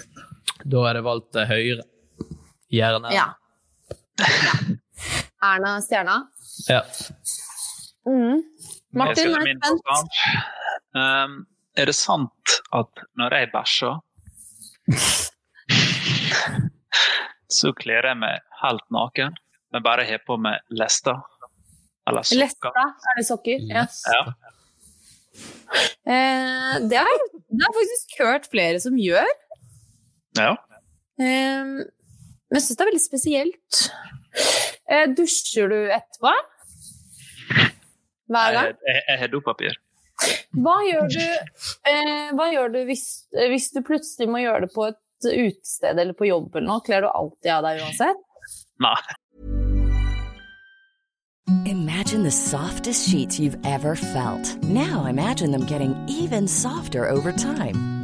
Da er det valgt eh, Høyre. Gjerne.
Ja. Erna Stjerna.
Ja.
Mm.
Jeg
Martin
skulle
er
minne på
spent.
sånn. Um, er det sant at når jeg bæsjer, så kler jeg meg helt naken, men bare har på meg lester eller sokker? Mm.
Letta, er det sokker? Ja.
Ja.
Eh, det, har, jeg- det har jeg faktisk hørt flere som gjør.
ja.
Eh, men jeg syns det er veldig spesielt. Eh, dusjer du etterpå? Hver gang?
Jeg, jeg, jeg har dopapir.
Hva gjør du, eh, hva gjør du hvis, eh, hvis du plutselig må gjøre det på et utested eller på jobb eller noe? Kler du alltid av deg uansett?
Nei.
Imagine the softest sheets you've ever felt. Now imagine them getting even softer over time.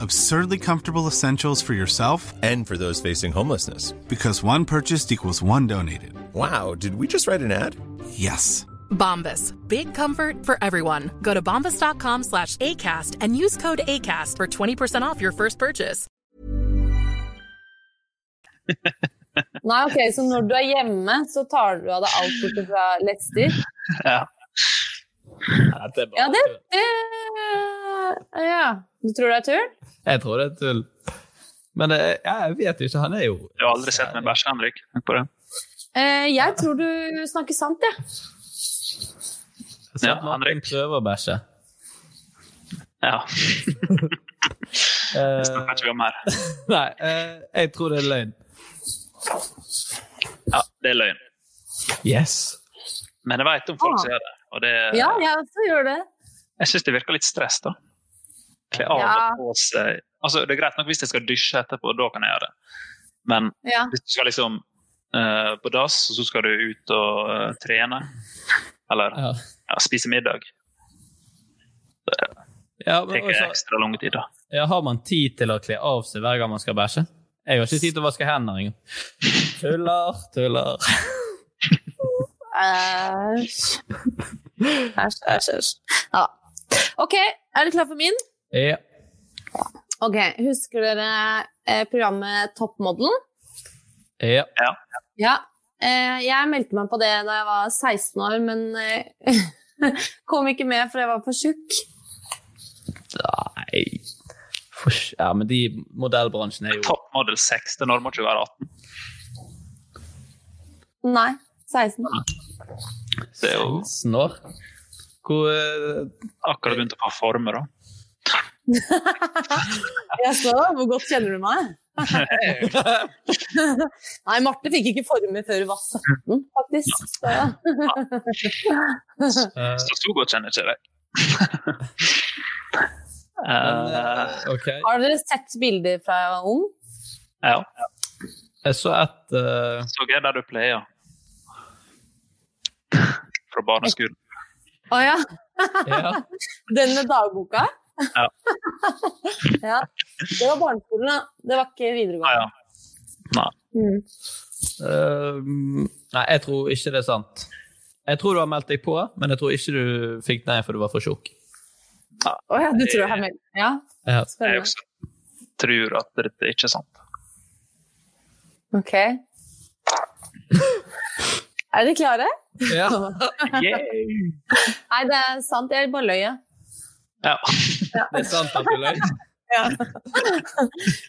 Absurdly comfortable essentials for yourself
And for those facing homelessness.
because one purchased equals one donated.
Wow, did we just write an ad?
Yes.
Bombas. Big comfort for everyone. Go to bombas.com slash ACAST and use code ACAST for 20% off your first purchase.
Nei, ok, så når du er hjemme, så tar du av deg alt bortsett fra lester?
Ja.
det er
Ja, det, det Ja. Du tror det er tull?
Jeg tror det er tull. Men det, er- ja, jeg vet jo ikke. Han er jo
Du har aldri sett meg bæsje, Henrik. Tenk på det.
Eh, jeg tror du snakker sant, jeg.
Sånn
Ja,
at man
Henrik.
prøver å bæsje.
Ja.
Eh,
Snakker ikke vi om her.
nei, eh, jeg tror det er løgn.
Ja, det er løgn.
Yes.
Men jeg vet om folk som gjør det. Og det
Ah. Ja, jeg også gjør det.
jeg syns det virker litt stress, da. Kle av
Ja.
og på seg Altså, Det er greit nok hvis jeg skal dusje etterpå, da kan jeg gjøre det. Men
Ja.
hvis du skal liksom eh, på dass, og så skal du ut og eh, trene, eller
Ja.
ja, spise middag
Ja,
Det
men
tar
også,
ekstra lang tid, da.
ja, har man tid til å kle av seg hver gang man skal bæsje? Jeg har ikke tid til å vaske hender engang. Tuller, tuller.
Æsj. Æsj, æsj, æsj. Ja. Ok, er du klar for min?
Ja.
Ok, Husker dere eh, programmet Toppmodellen?
ja.
Ja. Eh, jeg meldte meg på det da jeg var 16 år, men eh, kom ikke med for jeg var for tjukk.
Nei Fors- Ja, men de modellbransjen er jo
Top model 6, det når man ikke være 18.
Nei, 16.
Det er jo
16 år. Hvor eh,
akkurat begynt å få former, da.
Jaså, hvor godt kjenner du meg? Nei, Marte fikk ikke former før hun var 17, faktisk. Så.
eh,
Så så godt kjenner jeg ikke deg.
men,
Eh,
eh, Ok.
Har dere sett bilder fra jeg var ung?
ja,
Jeg så et eh,
så jeg der du pleier. Fra barneskolen.
Å ja.
Ja.
Den med dagboka?
Ja.
ja. Det var barneskolen, da. Det var ikke
Ja,
videregående.
ja. Nei.
Mm.
Eh, nei, jeg tror ikke det er sant. Jeg tror du har meldt deg på, men jeg tror ikke du fikk nei for du var for tjukk.
Å ja, du tror jeg har meldt Ja,
Ja.
Jeg
spennende.
også tror at dette ikke er sant.
Ok. Er dere klare?
Ja.
Yay!
Nei, det er sant. Jeg bare løy. jeg.
Ja.
Det er sant at du løy.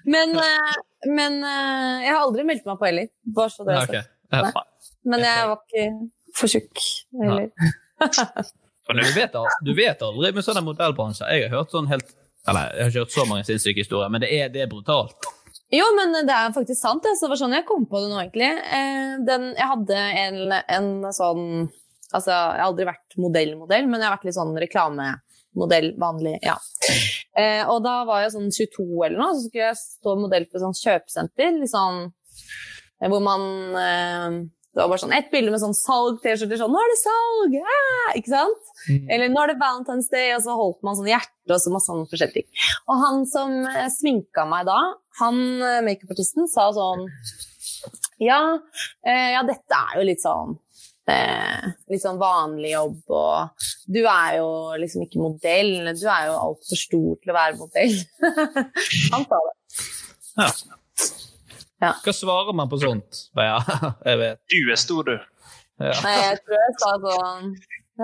Men, eh, men eh, jeg har aldri meldt meg på heller. Bare så det
Ja,
er
ok.
sagt.
Ja.
Men jeg var ikke for tjukk heller.
Men du vet, al- du vet aldri med sånne modellbransjer. Jeg har hørt sånn helt Eller jeg har ikke hørt så mange sinnssyke historier, men det er, det er brutalt.
Jo, men det er faktisk sant. det. Så det var sånn jeg kom på det nå, egentlig. Eh, Den, jeg hadde en, en sånn Altså, jeg har aldri vært modellmodell, men jeg har vært litt sånn reklamemodell, vanlig. ja. Eh, og da var jeg sånn 22 eller noe, så skulle jeg stå modell på et sånt kjøpesenter. Litt sånn eh, hvor man eh, Det var bare sånn ett bilde med sånn salg-T-skjorter. Sånn 'Nå er det salg!' Ah! Ikke sant? Eller 'Nå er det Valentine's Day', og så holdt man sånn hjerte og så masse sånn forskjellige ting. Og han som eh, sminka meg da, han eh, makeupartisten, sa sånn ja, eh, ja, dette er jo litt sånn eh, Litt sånn vanlig jobb, og du er jo liksom ikke modell. Du er jo altfor stor til å være modell. han sa det.
Hva svarer man på sånt? Ja, jeg vet.
Du er stor, du.
Ja.
Nei, jeg tror jeg sa sånn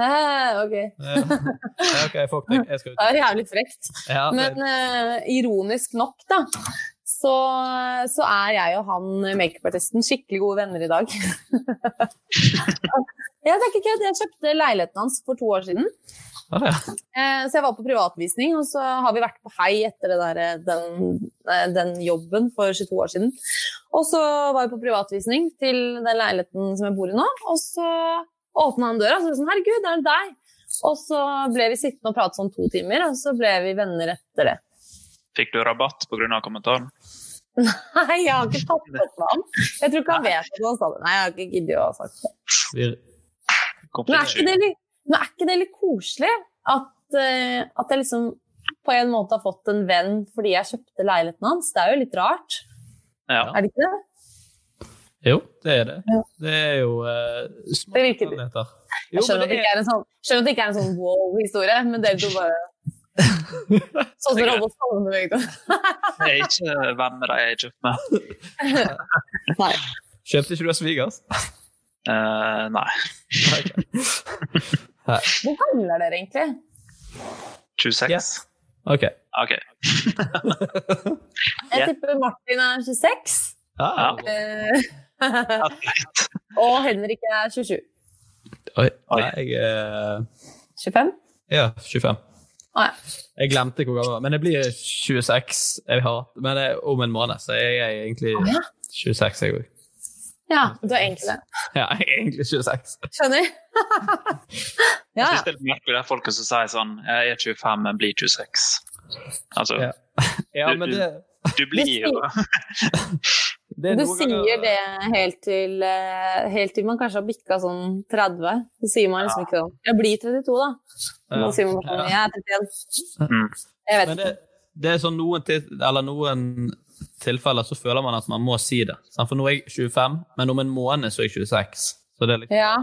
eh, Ok.
Ja, ok, fuck deg. Jeg skal ut.
Det er jævlig frekt.
Ja,
Men
det-
eh, ironisk nok, da, så, så er jeg og han eh, makeupartisten skikkelig gode venner i dag. jeg tenker ikke at jeg kjøpte leiligheten hans for to år siden.
Ja, ja.
Eh, så jeg var på privatvisning, og så har vi vært på hei etter det der, eh, den, eh, den jobben for 22 år siden. Og så var jeg på privatvisning til den leiligheten som jeg bor i nå, og så åpna han døra og så var jeg sånn Herregud, er det deg? Og så ble vi sittende og prate sånn to timer, og så ble vi venner etter det.
Fikk du rabatt pga. kommentaren?
Nei, jeg har ikke tatt opp med han. Jeg tror ikke han vet at han sa det. Nei, jeg har ikke giddet å ha sagt det.
Vi-
Men er ikke det litt, men er ikke det litt koselig at, eh, at jeg liksom på en måte har fått en venn fordi jeg kjøpte leiligheten hans? Det er jo litt rart,
Ja.
er det ikke det?
Jo, det er det.
Ja.
Det er jo uh, små
Det virker-
planeter.
Jeg
Jo,
skjønner
men
at det
det
ikke
er,
er en sånn, skjønner at det ikke er en sånn wow-historie, men dere to bare Sånn som
Det er greit.
robot sammen med begge to.
Jeg er ikke venn med de jeg er kjøpt med.
Nei.
kjøpte ikke du av svigers?
Eh, nei.
Hvor gamle er dere egentlig?
26?
Yes. Ok.
OK.
Jeg
Ja.
tipper Martin er 26,
Ja.
eh,
Greit.
og Henrik er 27.
Oi.
Oi.
Nei, jeg er
25?
Ja, 25.
Å ja.
Jeg glemte hvor gammel jeg var, men jeg blir 26 jeg har, men det er om en måned. Så jeg er egentlig 26, jeg òg.
ja. Du er egentlig det.
Ja, jeg er egentlig 26.
Skjønner? ja,
Jeg
ja.
synes det er litt merkelig, det er folket som sier sånn Jeg er 25, men blir 26. Altså,
Ja. Ja, men det,
du blir jo
Det er
Du
noen ganger-
sier det helt til, eh, helt til man kanskje har bikka sånn 30. Så sier man liksom ikke sånn Jeg blir 32, da.
Ja. Mm.
Nå sier man bare sånn Jeg er 31. Jeg vet
Men
ikke.
det, det er sånn noen, til, eller noen tilfeller så føler man at man må si det. sant? For nå er jeg 25, men om en måned så er jeg 26. Så det er liksom.
Ja.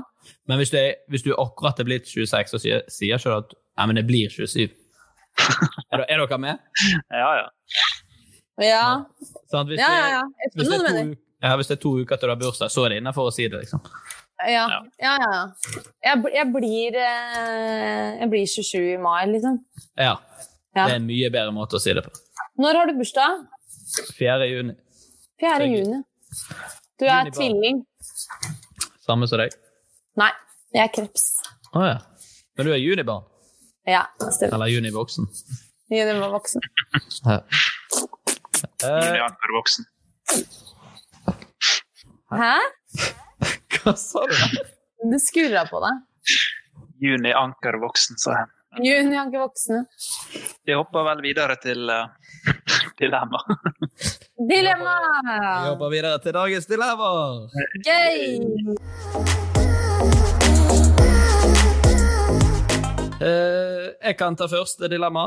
Men hvis, det, er- hvis du akkurat er blitt 26, så sier, sier ikke du at Nei, men jeg blir 27. er, dere- er dere med?
Ja, ja.
Ja.
Sant? Hvis
Ja, ja,
det-
ja. Jeg
Hvis
skjønner hva du
det, er to,
mener.
u- ja, hvis det er to uker til du har bursdag, så er det innenfor å si det. liksom.
Ja, ja, ja. ja. Jeg, bl- jeg, blir, eh, jeg blir 27 i mai, liksom.
Ja.
Ja.
Det er en mye bedre måte å si det på.
Når har du bursdag?
4. juni.
4. juni. Du er
Juni bare.
tvilling.
Samme som deg.
Nei, jeg er kreps.
Å ja. Men du er junibarn?
Ja, stemmer.
Eller junivoksen?
Juni var voksen.
Ja. Eh,
Julian er voksen.
Hæ?
hva sa du?
Du skurra på deg.
Juni Anker voksen, sa jeg.
Juni er ikke voksne.
Vi hopper vel videre til eh, dilemma.
Vi
Dilemma!
hopper videre til dagens dilemma.
Gøy!
Eh, jeg kan ta første dilemma.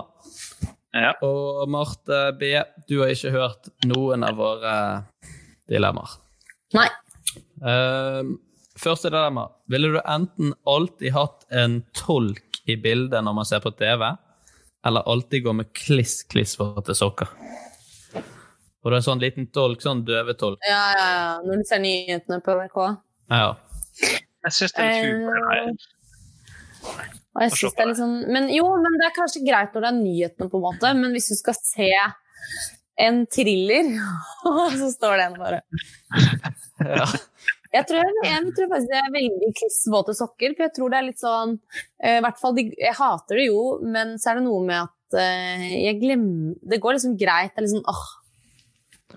Ja.
Og Marte B, du har ikke hørt noen av våre eh, dilemmaer.
Nei.
Eh, første dilemma. Ville du enten alltid hatt en tolk i bildet når man ser på TV, eller alltid gå med kliss klissvåte sokker? Og det er en sånn liten tolk, sånn døvetolk.
Ja, ja, ja. Når du ser nyhetene på NRK.
Ja.
Jeg syns det er
Eh,
litt fult. med det her.
Og jeg synes det er litt sånn... Men jo, men det er kanskje greit når det er nyhetene, på en måte. Men hvis du skal se en thriller, så står det en bare.
ja.
Jeg tror, jeg tror faktisk jeg velger klissvåte sokker, for jeg tror det er litt sånn eh, I hvert fall de, Jeg hater det jo, men så er det noe med at eh, jeg glemmer Det går liksom greit. Det er liksom åh,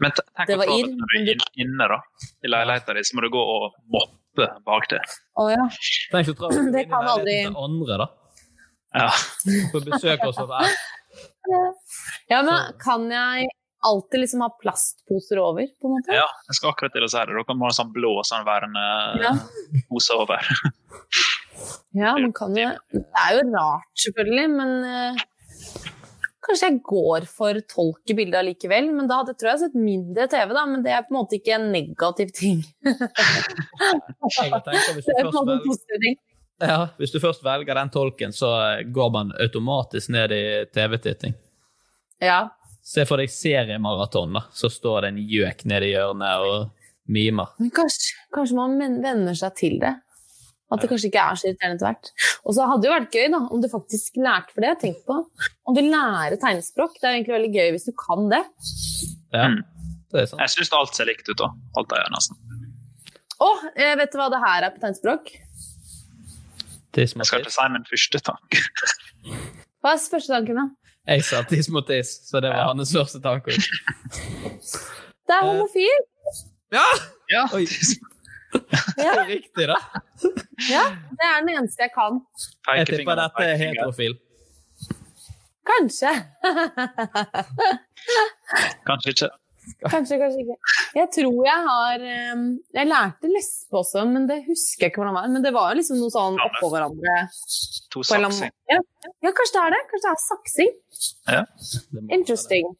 Men te- tenk
Det
å
var
ta det
inn,
når du er
men
inn- inne da, i leiligheten din, så må du gå og moppe bak det.
å ja.
Tenk så travelt
Det kan aldri-
til andre, da.
Ja.
På besøk hos oss. Ja.
Ja, men kan jeg alltid liksom ha plastposer over, på en måte?
ja, jeg skal akkurat til å si det. Dere må ha en sånn blå sånn vernepose
Ja.
over.
Ja, man kan jo Det er jo rart, selvfølgelig, men eh, Kanskje jeg går for tolk i bildet allikevel, men da hadde tror jeg sett mindre TV, da. Men det er på en måte ikke en negativ ting.
Jeg tenker, hvis,
Det
du
er sånn- på en
først
måte en
velger,
positiv ting.
ja, hvis du først velger den tolken, så eh, går man automatisk ned i TV-titting.
Ja.
Se for deg seriemaraton, da. Så står det en gjøk nede i hjørnet og mimer.
Men kanskje, kanskje man men- venner seg til det. At det kanskje ikke er så irriterende etter hvert. Og så hadde det jo vært gøy da, om du faktisk lærte for det. jeg har tenkt på. Om du lærer tegnspråk. Det er jo egentlig veldig gøy hvis du kan det.
Ja,
Mm.
det er sant.
Jeg syns alt ser likt ut, da. Alt er nesten.
Å, eh, vet du hva det her er på tegnspråk?
Tiss mot
Jeg skal
tiss.
ikke si min første tanke.
Hva er første tanken, da?
Jeg sa tiss mot tiss, så det var hans første tanke.
Det er homofil!
Ja!
Ja,
Oi.
Ja,
Riktig, da.
ja, det er den eneste jeg kan.
Jeg tipper dette er heterofil.
Kanskje.
Kanskje ikke.
Kanskje, kanskje ikke. Jeg tror jeg har eh, Jeg lærte lesbe også, men det husker jeg ikke hvordan det var. Men det var jo liksom noe sånn oppå hverandre.
To
på en eller annen
saksing.
måte. Ja, ja, kanskje det er det. Kanskje det er saksing.
Det må være det.
Interesting.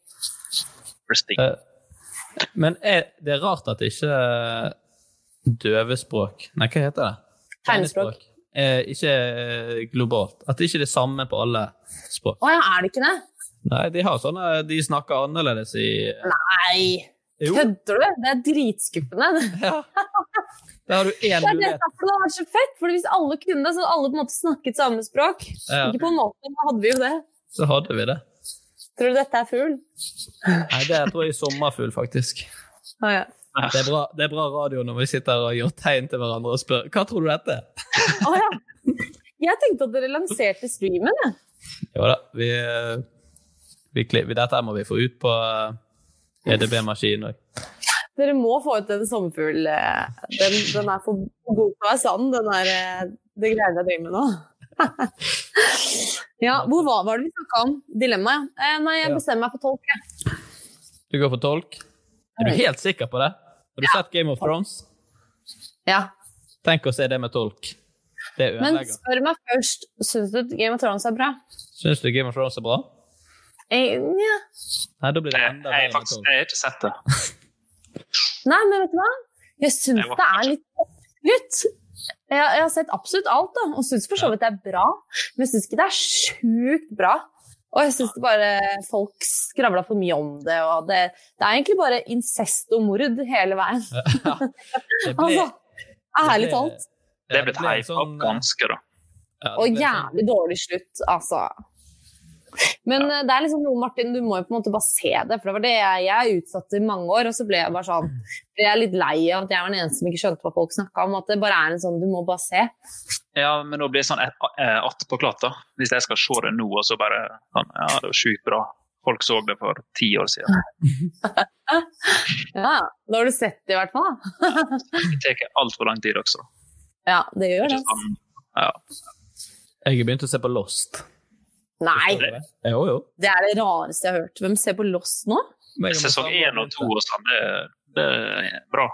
Resting.
Eh, Men er, det er rart at ikke eh, døvespråk Nei, hva heter det?
Tegnespråk.
Eh, ikke eh, globalt. At det ikke er det samme på alle språk.
Å ja, er det ikke det?
Nei, de har sånne De snakker annerledes i
Nei,
Jo,
kødder du? Det er dritskuffende.
ja. Der har du
Det er
én
det
mulighet.
derfor det hadde vært så fett, for hvis alle kunne det, så hadde alle på en måte snakket samme språk.
Ja.
Ikke på en måte, men da hadde vi jo det.
Så hadde vi det.
Tror du dette er fugl?
Nei, det tror jeg er sommerfugl, faktisk.
Å ja.
Det er, bra, det er bra radio når vi sitter og gjør tegn til hverandre og spør Hva tror du dette er?
Å ja. Jeg tenkte at dere lanserte streamen, jeg.
Jo da, vi, eh, vi, kli- vi Dette her må vi få ut på eh, EDB-maskinen òg.
Dere må få ut den sommerfugl... eh, Den, den er for god til å være sann, den der eh, Det greiene jeg driver med nå. ja, hvor var, var det vi snakka om? Dilemmaet, ja. Eh, nei, jeg
Ja.
bestemmer meg for tolk, jeg.
Du går for tolk? Er du helt sikker på det? Har du sett Game of Thrones?
Ja.
Tenk å se det med tolk. Det
Men
ødelegger.
spør meg først, syns du Game of Thrones er bra? Eh,
Syns du Game of Thrones er bra?
Jeg, ja.
Nei, da blir det enda
Jeg,
bedre med
faktisk, eh,
tolk.
jeg har ikke sett det.
Nei, men vet du hva? Jeg syns
Jeg var
det er litt oppskrytt. Jeg, jeg har sett absolutt alt, da, og syns for så vidt det er bra. Men jeg syns ikke det er sjukt bra. Og jeg syns bare folk skravla for mye om det, og det, det er egentlig bare incest og mord hele veien.
Det ble-
Altså, ærlig
ble-
talt.
Det
ja,
er blitt
ble
hypa opp
sånn-
ganske, da.
ja, det
Og
ble sånn-
jævlig dårlig slutt, altså. Men eh, det er liksom noe, Martin, du må jo på en måte bare se det. For det var det jeg, jeg utsatte i mange år, og så ble jeg bare
Mm.
sånn ble jeg litt lei av at jeg var den eneste som ikke skjønte hva folk snakka om. At det bare er en sånn du må bare se.
Ja, men nå blir det sånn eh, eh, attpåklatt, da. Hvis jeg skal se det nå, og så bare sånn, Ja, det var sjukt bra. Folk så det for ti år siden.
Ja, Da har du sett det i hvert fall, da.
Det tar altfor lang tid også.
Ja, det gjør
Ikke
det.
sånn, ja.
Jeg har begynt å se på Lost.
Nei,
Jo, jo.
det er det rareste jeg har hørt. Hvem ser på Loss nå?
Meg og
Sesong
min
én
samboer
og to og sånn, det, det er bra.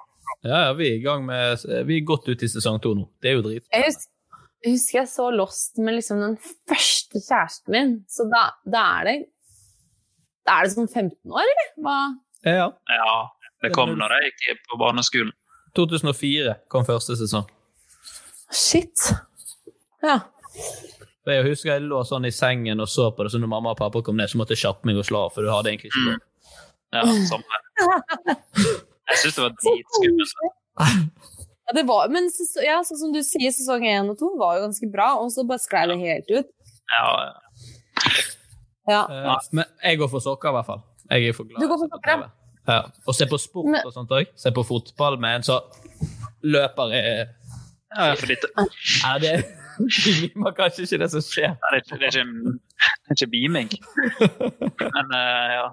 Ja, ja, vi er i gang med Vi er godt ute i sesong to nå. Det er jo drit.
Jeg husker, jeg husker jeg så Lost med liksom den første kjæresten min, så da, da er det Da er det sånn 15 år, eller? Hva?
Ja, ja.
Ja, det kom når jeg gikk på barneskolen.
2004 kom første sesong.
Shit. Ja.
For Jeg husker jeg lå sånn i sengen og så på det, så når mamma og pappa kom ned, så måtte jeg kjappe meg og slå av, for du hadde egentlig ikke lov.
Ja, samme her. Jeg syns det var dritskummelt.
Ja, det var, men ses- ja, sånn som du sier, sesong 1 og 2 var jo ganske bra, og så bare sklei det helt ut.
Ja,
Ja.
Eh, Men jeg går for sokker, i hvert fall. Jeg er for glad.
Du går for
i å se på
sokker, ja.
TV. Ja. Og se på sport
Men-
og sånt òg. Se på fotball med en sånn løper er
ja, for litt, det,
Ja, det Man kanskje ikke det som skjer.
er ikke, det, er ikke, det er ikke beaming. Men eh, ja.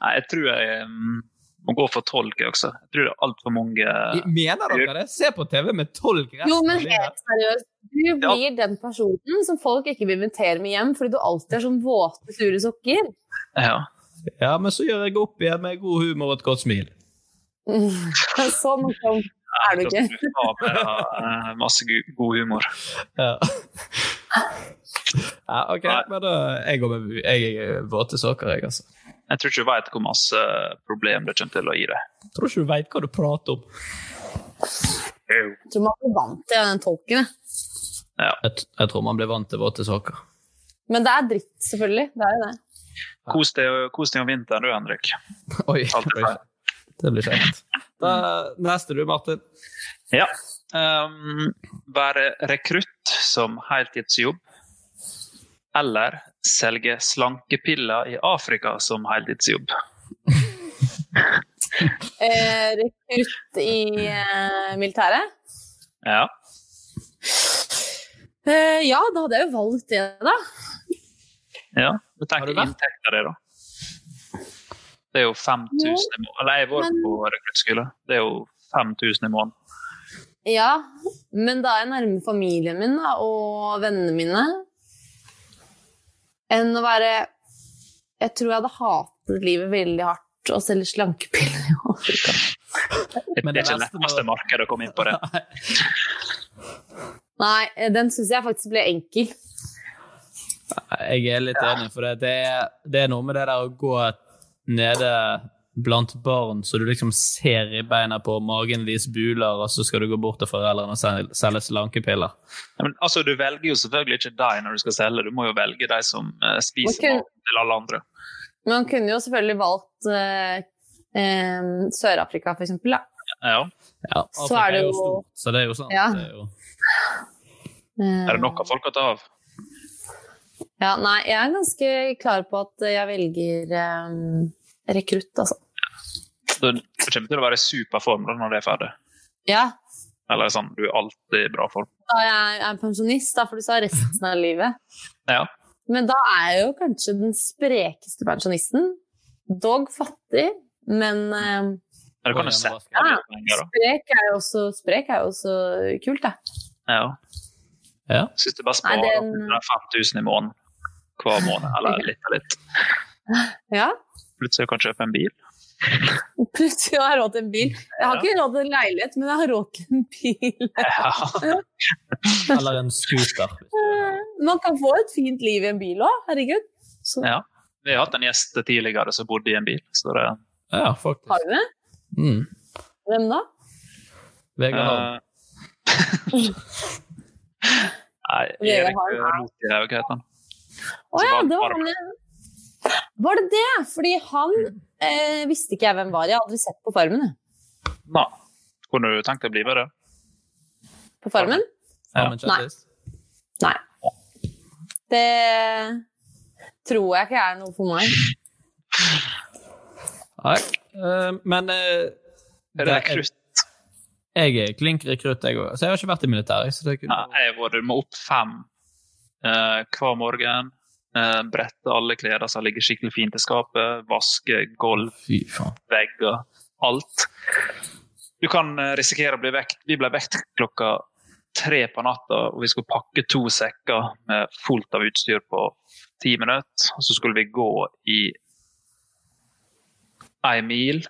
Nei, jeg tror jeg mm, må gå for tolk, jeg også. Jeg tror det er altfor mange eh,
Mener dere det? Se på TV med tolv resten
Jo, men
av livet.
helt seriøst. Du blir den personen som folk ikke vil invitere med hjem fordi du alltid har sånn våte, sure sokker.
ja.
Ja, men så gjør jeg opp igjen med god humor og et godt smil.
Så morsom Mm. Sånn er du
sånn.
ikke.
Ja, eh, masse gu- god humor.
Ja. ja, OK, men da Jeg går med jeg er våte sokker, jeg, altså.
Jeg tror ikke du vet hvor masse problem det kommer til å gi deg.
Tror ikke du veit hva du prater om.
Jeg tror man blir vant til den tolken. jeg.
Jeg, t- jeg tror man blir vant til våte sokker.
Men det er dritt, selvfølgelig. Det er jo det.
Kos deg, kos deg om vinteren du, Henrik.
Oi,
Alt er
oi.
feil.
det blir kjekt. Da, neste du, Martin.
Ja. Um, være rekrutt som heltidsjobb. Eller selge slankepiller i Afrika som heltidsjobb.
Eh, rekrutt i eh, militæret?
Ja.
Eh, ja, da hadde jeg jo valgt det, da.
ja. Du
Har
tenker
du vært?
inntekten din, da. Det er jo 5000 i måneden. Eller jeg var
Men-
på rekruttskole. Det er jo 5000 i måneden.
Ja, men da er jeg nærme familien min da, og vennene mine enn å være Jeg tror jeg hadde hatet livet veldig hardt og selge slankepiller i Afrika.
Det
Men
er
det
ikke det
neste må-
letteste markedet å komme inn på det.
Nei, eh, den syns jeg faktisk ble enkel.
Jeg er litt enig, for det, det, er, det er noe med det der å gå nede blant barn, så du liksom ser ribbeina på magen deres buler, og så skal du gå bort til foreldrene og sel- selge slankepiller.
Ja, Men, altså, du velger jo selvfølgelig ikke deg når du skal selge, du må jo velge de som eh, spiser
Ok.
maten til alle andre.
Men man kunne jo selvfølgelig valgt eh, eh, Sør-Afrika, for eksempel. Da.
Ja.
Ja,
Så
Afrika
er det jo-
stort, så det er jo sånn sant.
Ja.
Det er jo...
Eh,
Er det nok av folk å ta av?
Ja, nei, jeg er ganske klar på at jeg velger eh, rekrutt, altså.
Du du kommer til å være i superform da når det er ferdig.
Ja,
Eller sånn, du er alltid i bra form.
da jeg er pensjonist, da, for du sa resten av livet.
Ja.
Men da er jeg jo kanskje den sprekeste pensjonisten. Dog fattig, men eh,
Men du kan
Oi,
jo sette
ja, men hva
skal-
litt penger, da.
sprek er jo også, sprek er jo også kult, da.
Ja.
Ja.
Syns du bare
Nei,
sparer
den-
5000 i måneden hver måned, eller litt og litt.
Ja.
Plutselig kan du kjøpe en bil.
Plutselig har jeg råd til en bil. Jeg har ikke råd til en leilighet, men jeg har råd til en bil.
Eller en scooter.
Man kan få et fint liv i en bil òg, herregud. Så,
Ja. Vi har hatt en gjest tidligere som bodde i en bil. Så det,
Ja, faktisk.
Har du det?
Mm.
Hvem da?
Vegard Harm.
Nei,
Vegard
Erik
Harm, ja.
Rothaug heter han.
Å
Så
ja,
var
det var
Harm.
han ja. Var det det? Fordi han eh, visste ikke jeg hvem var. Jeg hadde aldri sett på Farmen. jeg.
Nei. Kunne du tenkt deg å bli med det?
På Farmen?
Eh,
Harm en kjendis.
Nei. Det tror jeg ikke er noe for meg.
Nei. Eh, men eh,
Er det
det er-
rekrutt?
jeg er klink rekrutt, jeg òg. Så jeg har ikke vært i militæret. Så det kunne...
Nei, jeg har vært med opp fem eh, hver morgen. eh, brette alle klær som ligger skikkelig fint i skapet. Vaske gulv,
Fy faen.
vegger, alt. Du kan eh, risikere å bli vekt. Vi ble vekt klokka tre på natta, og vi skulle pakke to sekker med fullt av utstyr på ti minutter. Og så skulle vi gå i ei mil,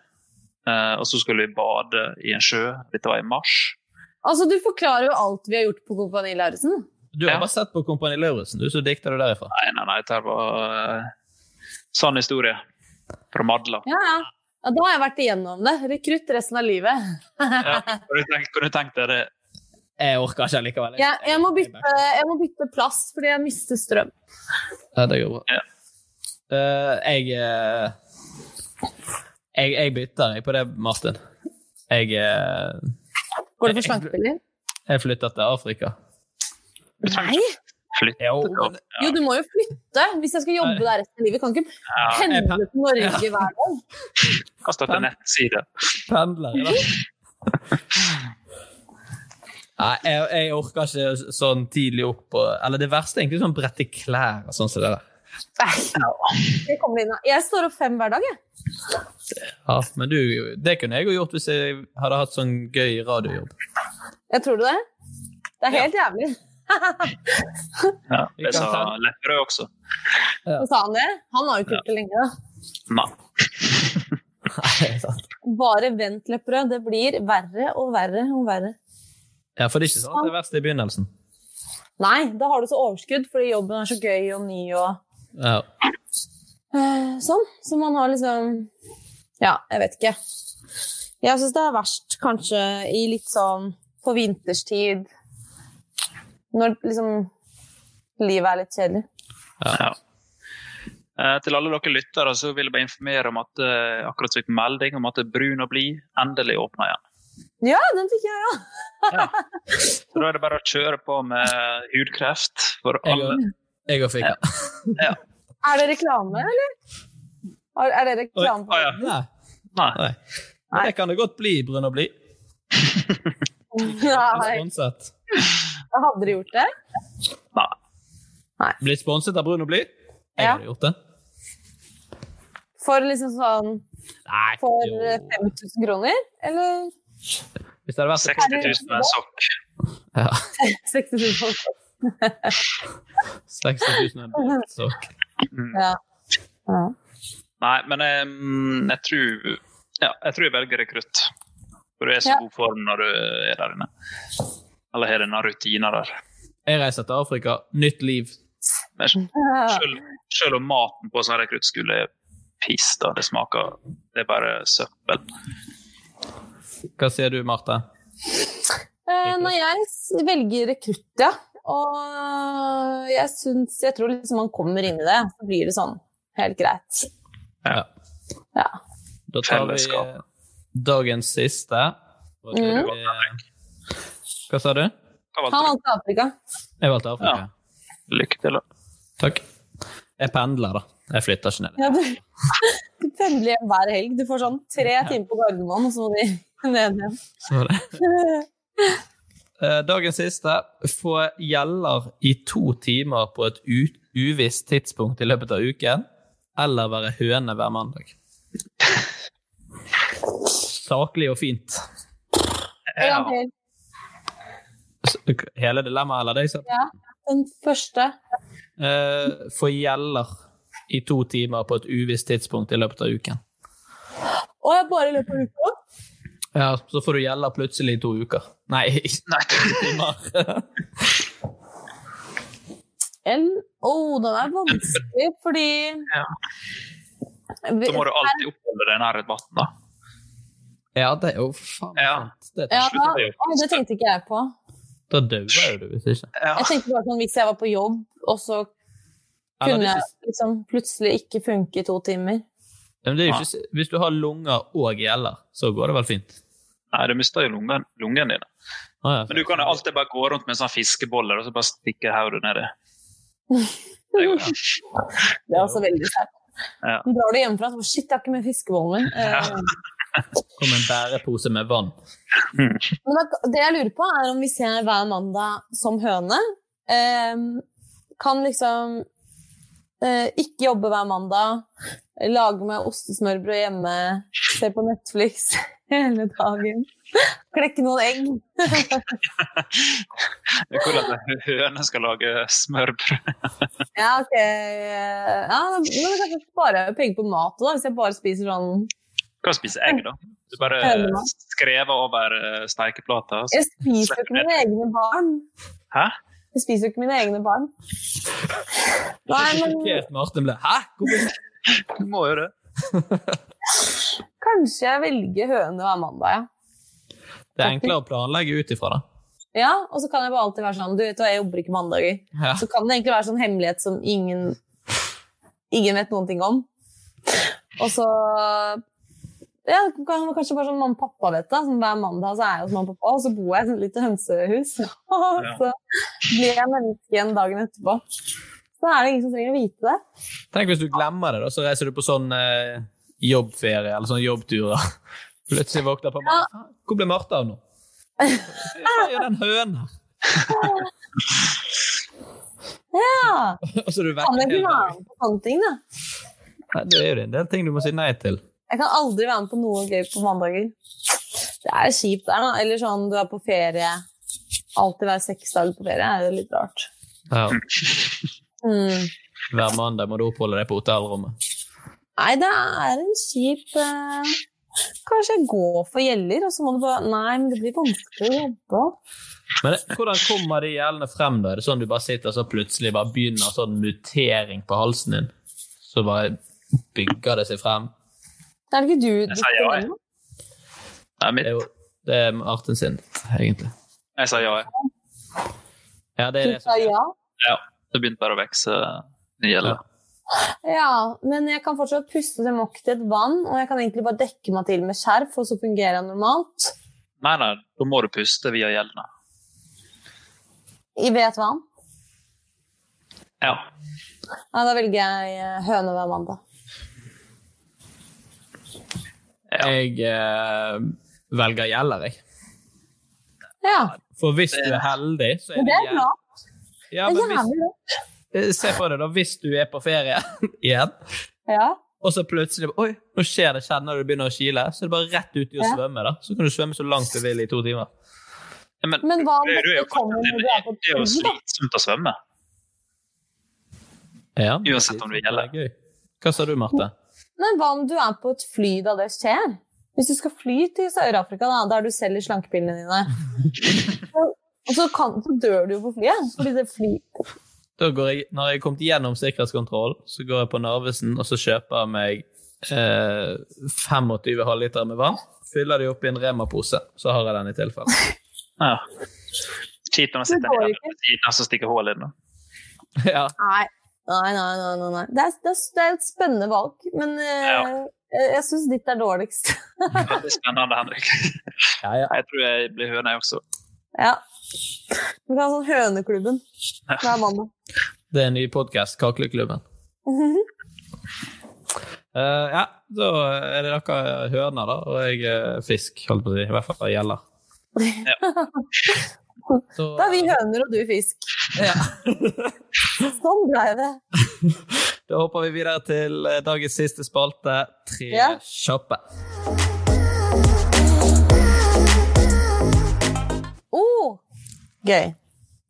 eh, og så skulle vi bade i en sjø. Dette var i mars.
Altså, Du forklarer jo alt vi har gjort på Kompani Lauritzen.
Du har
Ja.
bare sett på Kompani Lauritzen, du, så dikter du derifra.
Nei, nei, nei, dette var eh, sann historie fra Madla.
Ja, ja. ja. Da har jeg vært igjennom det. Rekrutt resten av livet.
Ja, kan du tenke- kan du tenke deg det?
Jeg orker ikke likevel.
Jeg, jeg, må bytte, jeg må bytte plass fordi jeg mister strøm.
Ja, det går bra.
Ja.
Eh, jeg, eh, jeg Jeg bytter jeg på det, Martin. Jeg, eh,
Går det for slankepiller?
jeg flytter til Afrika.
Nei!
Flytt.
Jo,
men-
Jo, du må jo flytte hvis jeg skal jobbe der resten av livet. Kan ikke pendle til Norge hver dag.
Kast deg til nettside.
pendler i dag. Nei, jeg, jeg orker ikke sånn tidlig opp og, Eller det verste er egentlig sånn brette klær og sånn som det der.
Jeg, kommer inn, jeg står opp fem hver dag, jeg.
Ja, men du, det kunne jeg jo gjort hvis jeg hadde hatt sånn gøy radiojobb.
jeg tror du det? Det er helt jævlig.
Ja,
Vi
det
kan
sa
ta-
Lepperød også.
Så sa han det. Han har jo ikke gjort det lenge. da.
Nei.
Nei, sant.
Bare vent, Lepperød. Det blir verre og verre og verre.
Ja, for det er ikke sånn at det er verst i begynnelsen.
Nei, da har du så overskudd fordi jobben er så gøy og ny og
Ja.
eh, sånn. Så man har liksom Ja, jeg vet ikke. Jeg syns det er verst kanskje i litt sånn på vinterstid når liksom livet er litt kjedelig.
Ja. Eh, Til alle dere lyttere så vil jeg bare informere om at eh, akkurat fikk melding om at Brun og blid endelig åpna igjen.
Ja, den fikk jeg, ja!
Så Da er det bare å kjøre på med hudkreft for
Jeg
alle.
og- Jeg og Fika.
Er det reklame, eller? Er, er det reklame på
Å, ja.
Nei.
Nei.
Nei. Men Det kan det godt bli, Brun og blid.
Nei,
Sponset.
jeg hadde dere gjort det?
Nei.
Blitt sponset av Brun og blid? Jeg
Ja.
hadde gjort det.
For liksom sånn
Nei,
For
jo.
eh, 5000 kroner? Eller
Hvis det hadde vært
60 000 med en sokk.
ja.
60 000 kroner? eh,
60 000 er en sokk.
Ja. ja.
Nei, men jeg, mm, jeg tror ja, jeg tror jeg velger rekrutt. For du er i så
Ja.
god form når du er der inne. Eller har denne rutina der.
Jeg reiser til Afrika, nytt liv.
Men Selv, selv om maten på sånn rekruttskole er piss, da. Det smaker Det er bare søppel.
Hva sier du, Marte?
Eh, Nei, jeg s- velger rekrutt, ja. Og jeg syns Jeg tror liksom man kommer inn i det, så blir det sånn helt greit.
Ja.
Ja.
Da tar vi eh,
Fellesskap.
dagens siste. Og det
Mhm.
blir, eh, Hva sa du?
Han
Hva valgte du?
valgte Afrika.
Jeg valgte Afrika.
Ja. Lykke til, da.
Takk. Jeg pendler, da. Jeg flytter ikke ned.
Ja, du, du pendler hjem hver helg. Du får sånn tre timer på Gardermoen, og så må de ned igjen.
Så var det. Eh, Dagens siste. Få gjeller i to timer på et u uvisst tidspunkt i løpet av uken, eller være høne hver mandag. Saklig og fint.
En gang til.
S- Hele dilemmaet, eller det? Så.
Den første.
Eh, få gjeller i to timer på et uvisst tidspunkt i løpet av uken.
Å, Å, jeg bare løper en uke.
Ja, så får du gjelda plutselig i to uker. Nei,
Nei.
to timer.
L Å, den er vanskelig, fordi
Ja. Så må du alltid oppholde deg nær et vann, da.
Ja, det er jo faen
Ja.
sant. Det,
ja,
slutter jeg
å, Det tenkte ikke jeg på.
Da dauer jo du hvis ikke.
Ja.
Jeg tenkte bare sånn hvis jeg var på jobb, og så
Eller
kunne
hvis-
jeg liksom plutselig ikke funke i to timer.
Men det er jo ikke, hvis du har lunger og gjeller, så går det vel fint?
Nei, du mister jo lungen, lungen dine.
Ah, ja.
Men du kan jo alltid bare gå rundt med en sånn fiskebolle og så bare stikke hodet nedi. Det går jo.
Det er også veldig sært.
Ja.
Men Drar du hjemmefra, så shit, jeg har ikke med fiskebollen min. Eh,
Kom en bærepose med vann.
Men da, det jeg lurer på, er om vi ser hver mandag som høne. Ehm, kan liksom eh, ikke jobbe hver mandag, lage meg ostesmørbrød hjemme, se på Netflix hele dagen, klekke noen egg.
Det er Hvordan en høne skal lage smørbrød.
Ja, ok. Ja, men kanskje spare penger på mat også, da, hvis jeg bare spiser sånn
Du kan spise egg, da. Du bare
Hønemat.
skrever over eh, steikeplata. og så-
Jeg spiser jo ikke mine egne barn.
Hæ?
Jeg spiser jo ikke mine egne barn. Nei, men
Helt Martin ble Hæ? Hvorfor?
Du må jo det.
kanskje jeg velger høne hver mandag, ja.
Det er enklere å planlegge ut ifra det.
Ja, og så kan jeg bare alltid være sånn Du vet hva, jeg jobber ikke mandager.
Ja.
Så kan det egentlig være sånn hemmelighet som ingen Ingen vet noen ting om. Og så ja, det kan være Kanskje bare sånn mamma og pappa vet det. Sånn, hver mandag så er jeg hos mamma og pappa, og så bor jeg i et lite hønsehus. Og så blir jeg menneske igjen dagen etterpå. Så er det ingen som trenger å vite det.
Tenk hvis du glemmer det, da, så reiser du på sånn eh, jobbferie eller sånn jobbturer. Plutselig våkner på mandag. «Faen, Hvor ble Martha av nå? Hva gjør den hønen her?
Ja,
Og så er du
Kan
vekk
jeg ikke
hele
være
dagen.
med på sånne ting, da?
Nei, Det er jo en del ting du må si nei til.
Jeg kan aldri være med på noe gøy på mandager. Det er kjipt der, da. Eller sånn du er på ferie. Alltid være seks dager på ferie er jo litt rart.
Ja.
Mm.
Hver mandag må du oppholde deg på hotellrommet.
Nei, det er en kjip eh, Kanskje jeg går for gjeller, og så må du bare Nei, men det blir vanskelig å jobbe.
Men det- hvordan kommer de gjellene frem? da? Er det sånn du bare sitter og så plutselig bare begynner sånn mutering på halsen din? Så bare bygger det seg frem?
Er det ikke du du
sa ja,
spiller
jeg.
nå?
Nei, mitt.
Det er jo det er Martin sin, egentlig.
Jeg sa ja, jeg.
Ja, det er
Du
det
sa
som skjer.
ja?
Det begynte bare å vokse eh, nye gjeller.
Ja, men jeg kan fortsatt puste dem opp til et vann, og jeg kan egentlig bare dekke meg til med skjerf, og så fungerer jeg normalt.
Nei, nei, da må du puste via gjellene.
I vet vann.
Ja.
Nei, da velger jeg eh, høne hver mandag.
Jeg eh, velger gjeller, jeg.
Ja,
For hvis du er heldig, så er
men det
det
er
gjeld.
bra.
Ja,
Det er
men
jævlig
hvis,
bra.
eh, se på det, da. Hvis du er på ferie igjen,
Ja.
og så plutselig Oi, nå skjer det, kjenner du det begynner å kile. Så er det bare rett ut i å
Ja.
svømme, da. Så kan du svømme så langt du vil i to timer.
Ja, Men,
Men hva om
du, du er jo
det kommer når du er på
Det er jo
tur, da?
slitsomt å svømme.
Ja, men
Uansett om det gjelder.
er gøy. Hva sa du, Marte?
Men hva om du er på et fly da det skjer? Hvis du skal fly til Sør-Afrika, da, der du selger slankepillene dine Og- Og så, kan, så dør du jo på flyet. Fordi det fly
Da går jeg, når jeg har kommet gjennom sikkerhetskontroll, så går jeg på Narvesen og så kjøper jeg meg eh, 25 halvliter med vann. Fyller de opp i en Rema-pose, så har jeg den i tilfelle.
Ja. Kjipt når man sitter
Det går
nede
ikke.
ved siden av og stikker hull inn. da.
ja.
Nei. Nei, nei, nei. nei, nei. Det, er, det, er, det er et spennende valg, men eh,
Ja.
jeg, jeg syns ditt er dårligst.
Veldig spennende, Henrik.
Ja, ja.
Jeg tror jeg blir høne, jeg også.
ja. Vi kan ha sånn Høneklubben hver mandag.
Det er en ny podkast, Kakleklubben. Eh, ja, da er det dere høner, da, og jeg er fisk, holdt på å si. I hvert fall gjelder. Så,
Da er vi høner og du fisk.
ja.
Sånn blei det.
Da hopper vi videre til eh, dagens siste spalte, Tre
Ja.
kjappe.
Oh, gøy.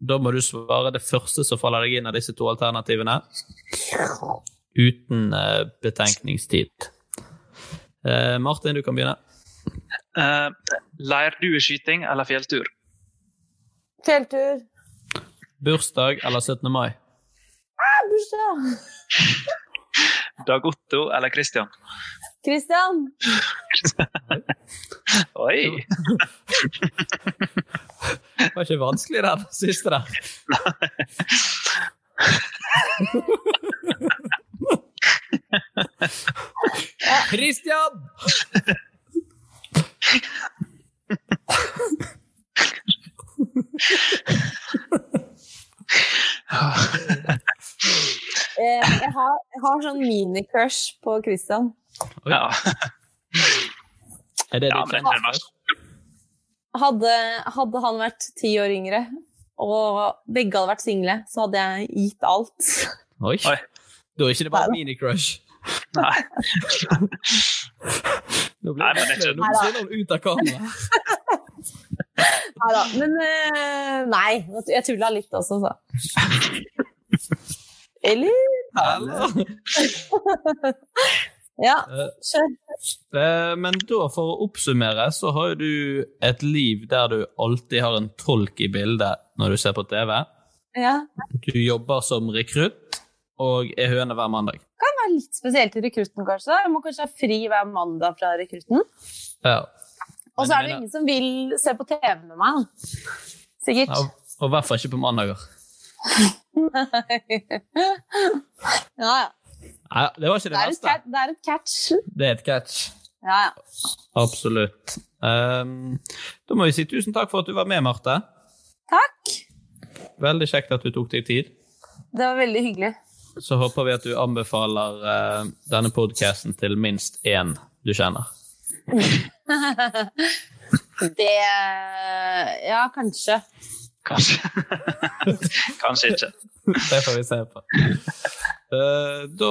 Da må du svare det første som faller deg inn av disse to alternativene. Uten eh, betenkningstid. Eh, Martin, du kan begynne.
Eh, leirdueskyting eller fjelltur?
Fjelltur.
Bursdag eller 17. mai?
Ah, bursdag!
Dag Otto eller Christian?
Christian!
Oi!
Det var ikke vanskelig, den siste der. Christian!
Eh, jeg, har, jeg har sånn mini-crush på Christian.
Ja.
Er det
ja,
ditt
men
kjendis-
den var så-
Hadde, hadde han vært ti år yngre, og begge hadde vært single, så hadde jeg gitt alt.
Oi.
Oi.
Da er ikke det bare mini-crush.
Nei.
Nå
Nei, men
blir det
det er ikke-
Nå forsvinner hun ut av kamera.
Nei da. Men eh, nei, nå- jeg tulla litt også, så. Eller
Eller?
Ja,
Eh,
kjør.
Eh, Men da, for å oppsummere, så har jo du et liv der du alltid har en tolk i bildet når du ser på TV.
Ja.
Du jobber som rekrutt og er høne hver mandag.
Det er litt spesielt i rekrutten, kanskje. Jeg må kanskje ha fri hver mandag fra rekrutten.
Ja.
Og så
Men jeg
er det
mener-
ingen som vil se på TV med meg. da. Sikkert.
Ja, Og i hvert fall ikke på mandager.
Ja, ja.
Nei, det var
Det
ikke
er,
det
et
verste.
cat, det er et catch.
Det er et catch.
Ja, ja.
Absolutt. Ehm, da må vi si tusen takk for at du var med, Marte.
Takk.
Veldig kjekt at du tok deg tid.
Det var veldig hyggelig.
Så håper vi at du anbefaler eh, denne podcasten til minst én du kjenner.
Det Ja, kanskje.
Kanskje. Kanskje ikke.
Det får vi se på. Eh, da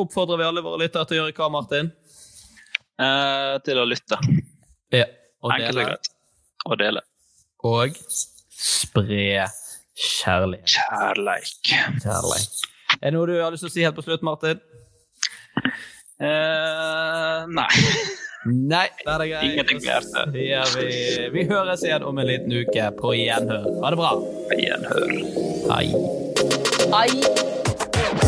oppfordrer vi alle våre lyttere til å gjøre hva, Martin?
Eh, til å lytte.
Ja, og
Enkelt og
dele.
greit. Og dele.
Og spre kjærlighet.
Kjærleik.
Kjærlighet. Er det noe du har lyst til å si helt på slutt, Martin?
Eh, nei.
Nei, det er det greit.
Ingenting på hjertet.
Ja, vi, vi høres igjen om en liten uke. På gjenhør. Ha det bra.
Gjenhør.
Hei.
Ai.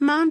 Mom